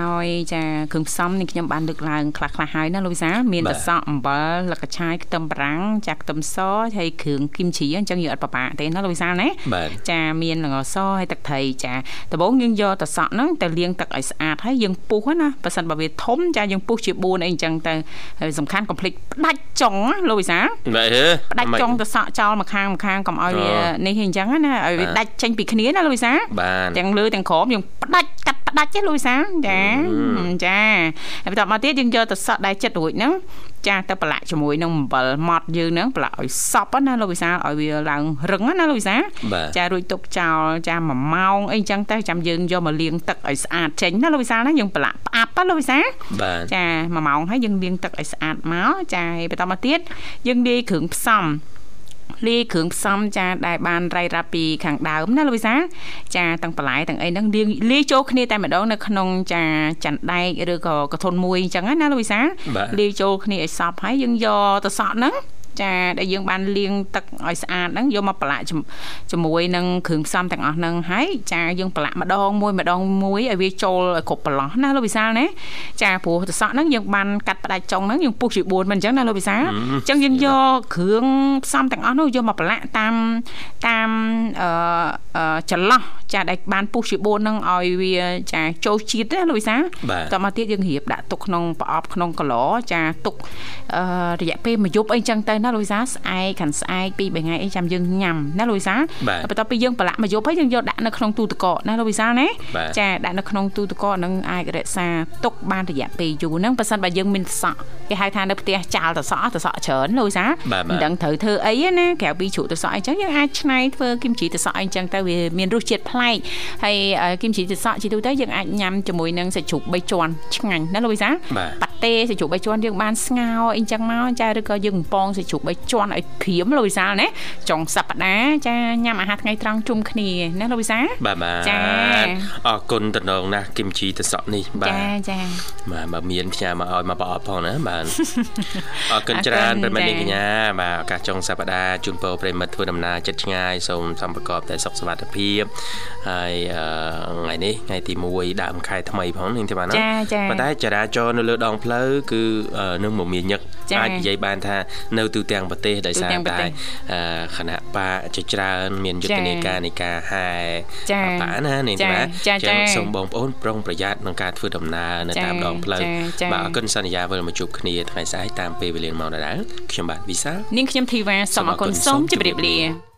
Speaker 1: ដោយចាគ្រឿងផ្សំនេះខ្ញុំបានលើកឡើងខ្លះខ្លះៗហើយណាលោកវិសាលមានត្រសក់អំបិលលកឆាយខ្ទឹមបារាំងចាខ្ទឹមសហើយគ្រឿងគីមជីអញ្ចឹងយើងអត់ប្របាក់ទេណាលោកវិសាលណា
Speaker 3: បាទ
Speaker 1: ចាមានល្ងសហើយទឹកត្រីចាដំបូងយើងយកត្រសក់ហ្នឹងទៅលាងទឹកឲ្យស្អាតហើយយើងពុះហ្នឹងណាបើសិនបើវាធំចាយើងពុះជា4អីអញ្ចឹងទៅហើយសំខាន់កុំភ្លេចផ្ដាច់ចុងណាលោកវិសាល
Speaker 3: បាទហឺ
Speaker 1: ផ្ដាច់ចុងទៅសក់ចោលមួយខាងមួយខាងកុំឲ្យវា
Speaker 3: អូ
Speaker 1: នេះអីចឹងណាឲ្យវា
Speaker 3: បាទ
Speaker 1: ដាច់ចេញពីគ្នាណាលូយសា
Speaker 3: បាទ
Speaker 1: ទាំងលើទាំងក្រោមយើងផ្ដាច់កាត់ផ្ដាច់ណាលូយសាចា
Speaker 3: ហឹម
Speaker 1: ចាហើយបន្តមកទៀតយើងយកទៅសក់ដែលចិត្តរួចហ្នឹងចាទៅប្រឡាក់ជាមួយនឹងអំបិលម៉ត់យើងហ្នឹងប្រឡាក់ឲ្យសប់ណាលូយសាឲ្យវាឡើងរឹងណាលូយសា
Speaker 3: បាទ
Speaker 1: ចារួចទុកចោលចាមួយម៉ោងអីចឹងទៅចាំយើងយកមកលាងទឹកឲ្យស្អាតចេញណាលូយសាណាយើងប្រឡាក់ផ្អាប់ណាលូយសា
Speaker 3: បាទ
Speaker 1: ចាមួយម៉ោងហើយយើងលាងទឹកឲ្យស្អាតមកចាហើយបន្តមកទៀតយើងលាយគ្រឿងផ្សំលាយគ្រឿងផ្សំចាដែលបានរៃរ៉ាប់ពីខាងដើមណាលោកវិសាលចាទាំងបន្លែទាំងអីហ្នឹងលាយលាយចូលគ្នាតែម្ដងនៅក្នុងចាចាន់ដែកឬក៏កធុនមួយអញ្ចឹងណាណាលោកវិសាល
Speaker 3: បាទ
Speaker 1: លាយចូលគ្នាឲ្យសព្វហើយយើងយកទៅសក់ហ្នឹងចាដែលយើងបានលាងទឹកឲ្យស្អាតហ្នឹងយកមកប្រឡាក់ជំជាមួយនឹងគ្រឿងផ្សំទាំងអស់ហ្នឹងហើយចាយើងប្រឡាក់ម្ដងមួយម្ដងមួយឲ្យវាចូលឲ្យគ្រប់ប្រឡោះណាលោកវិសាលណាចាព្រោះទៅសក់ហ្នឹងយើងបានកាត់ផ្ដាច់ចុងហ្នឹងយើងពុះជា4មិនអញ្ចឹងណាលោកវិសាល អញ្ចឹងយើងយកគ្រឿងផ្សំទាំងអស់នោះយកមកប្រឡាក់តាមតាមអឺអឺចន្លោះចាដែលបានពុះជា4ហ្នឹងឲ្យវាចាចូលជាតិណាលោកវិសាល
Speaker 3: បា
Speaker 1: ត
Speaker 3: ទ
Speaker 1: មកទៀតយើងរៀបដាក់ទុកក្នុងប្រអប់ក្នុងកឡចាទុកអឺរយៈពេលមួយយប់អីចឹងទៅណាលូយសាស្អែកខាន់ស្អែកពីរបីថ្ងៃអីចាំយើងញ៉ាំណាលូយសា
Speaker 3: បាទ
Speaker 1: បន្ទាប់ពីយើងប្រឡាក់មួយយប់ហើយយើងយកដាក់នៅក្នុងទូទឹកកកណាលូយសាណា
Speaker 3: បាទ
Speaker 1: ចាដាក់នៅក្នុងទូទឹកកកនឹងអាចរក្សាទុកបានរយៈពេលយូរហ្នឹងបើសិនបើយើងមានសក់គេហៅថានៅផ្ទះចាលតសក់តសក់ច្រើនលូយសា
Speaker 3: បាទបាទ
Speaker 1: មិនដឹងត្រូវធ្វើអីទេណាក្រៅពីជ្រក់តសក់អីចឹងយើងអាចឆ្នៃធ្វើគីមជីតសក់អីចឹងទៅវាមានរសជាតិប្លែក ហើយអឺគីមជីទឹកសក់ជាទូទៅយើងអាចញ៉ាំជាមួយនឹងសាច់ជ្រូក3ជាន់ឆ្ងាញ់ណាលោកវិសាល
Speaker 3: បាទ
Speaker 1: ប៉ាតេ ទេសាច់ជ្រូកបីជាន់យើងបានស្ងោរអីចឹងមកចាឬក៏យើងបំពងសាច់ជ្រូកបីជាន់ឲ្យក្រៀមលោកវិសាលណាចុងសប្តាហ៍ចាញ៉ាំអាហារថ្ងៃត្រង់ជុំគ្នាណាលោកវិសាល
Speaker 3: បាទបា
Speaker 1: ចា៎
Speaker 3: ទអរគុណតំណងណាស់គឹមជីតសក់នេះបាទ
Speaker 1: ចាចា
Speaker 3: បាទបើមានផ្ញើមកឲ្យមកប្រអប់ផងណាបាទ អរគុណច្រើនប្រិយមិត្តនាងកញ្ញាបាទឱកាសចុងសប្តាហ៍ជូនពរប្រិយមិត្តធ្វើដំណើរចិត្តឆ្ងាយសូមសំប្រកបតែសុខសុវត្ថិភាពហើយអឺថ្ងៃនេះថ្ងៃទី1ដើមខែថ្មីផងនាងទេបាទណា
Speaker 1: ចាចា
Speaker 3: ប៉ុន្តែចរាចរណ៍នៅលើដងផ្លូវគឺអឺនឹងមមាញឹក
Speaker 1: ចា៎
Speaker 3: អាចនិយាយបានថានៅទូទាំងប្រទេសដោយសារ
Speaker 1: ទូទាំងប្រ
Speaker 3: តែ
Speaker 1: ទេស
Speaker 3: អឺគណៈបកជាច្រើនមានយុទ្ធនាការនៃការហែ
Speaker 1: ចា៎
Speaker 3: បកណានេះទេបាទ
Speaker 1: ចា៎ចា៎
Speaker 3: ចឹងសូមបងប្អូនប្រុងប្រយ័ត្នក្នុងការធ្វើដំណើរនៅ
Speaker 1: ចា៎
Speaker 3: តាមដងផ្លូវ
Speaker 1: ចា៎ចា៎
Speaker 3: បាទអរគុណសន្យាវិលមកជួបគ្នាថ្ងៃស្អែកតាមពេលវេលាម៉ោងដដែលខ្ញុំបាទវិសាល
Speaker 1: នាងខ្ញុំធីវ៉ាសូមអរគុណ
Speaker 3: សូ
Speaker 1: សូ
Speaker 3: ម
Speaker 1: ម
Speaker 3: អរគុណ
Speaker 1: ជម្រាប
Speaker 3: សូមជម្រាបលា
Speaker 1: លា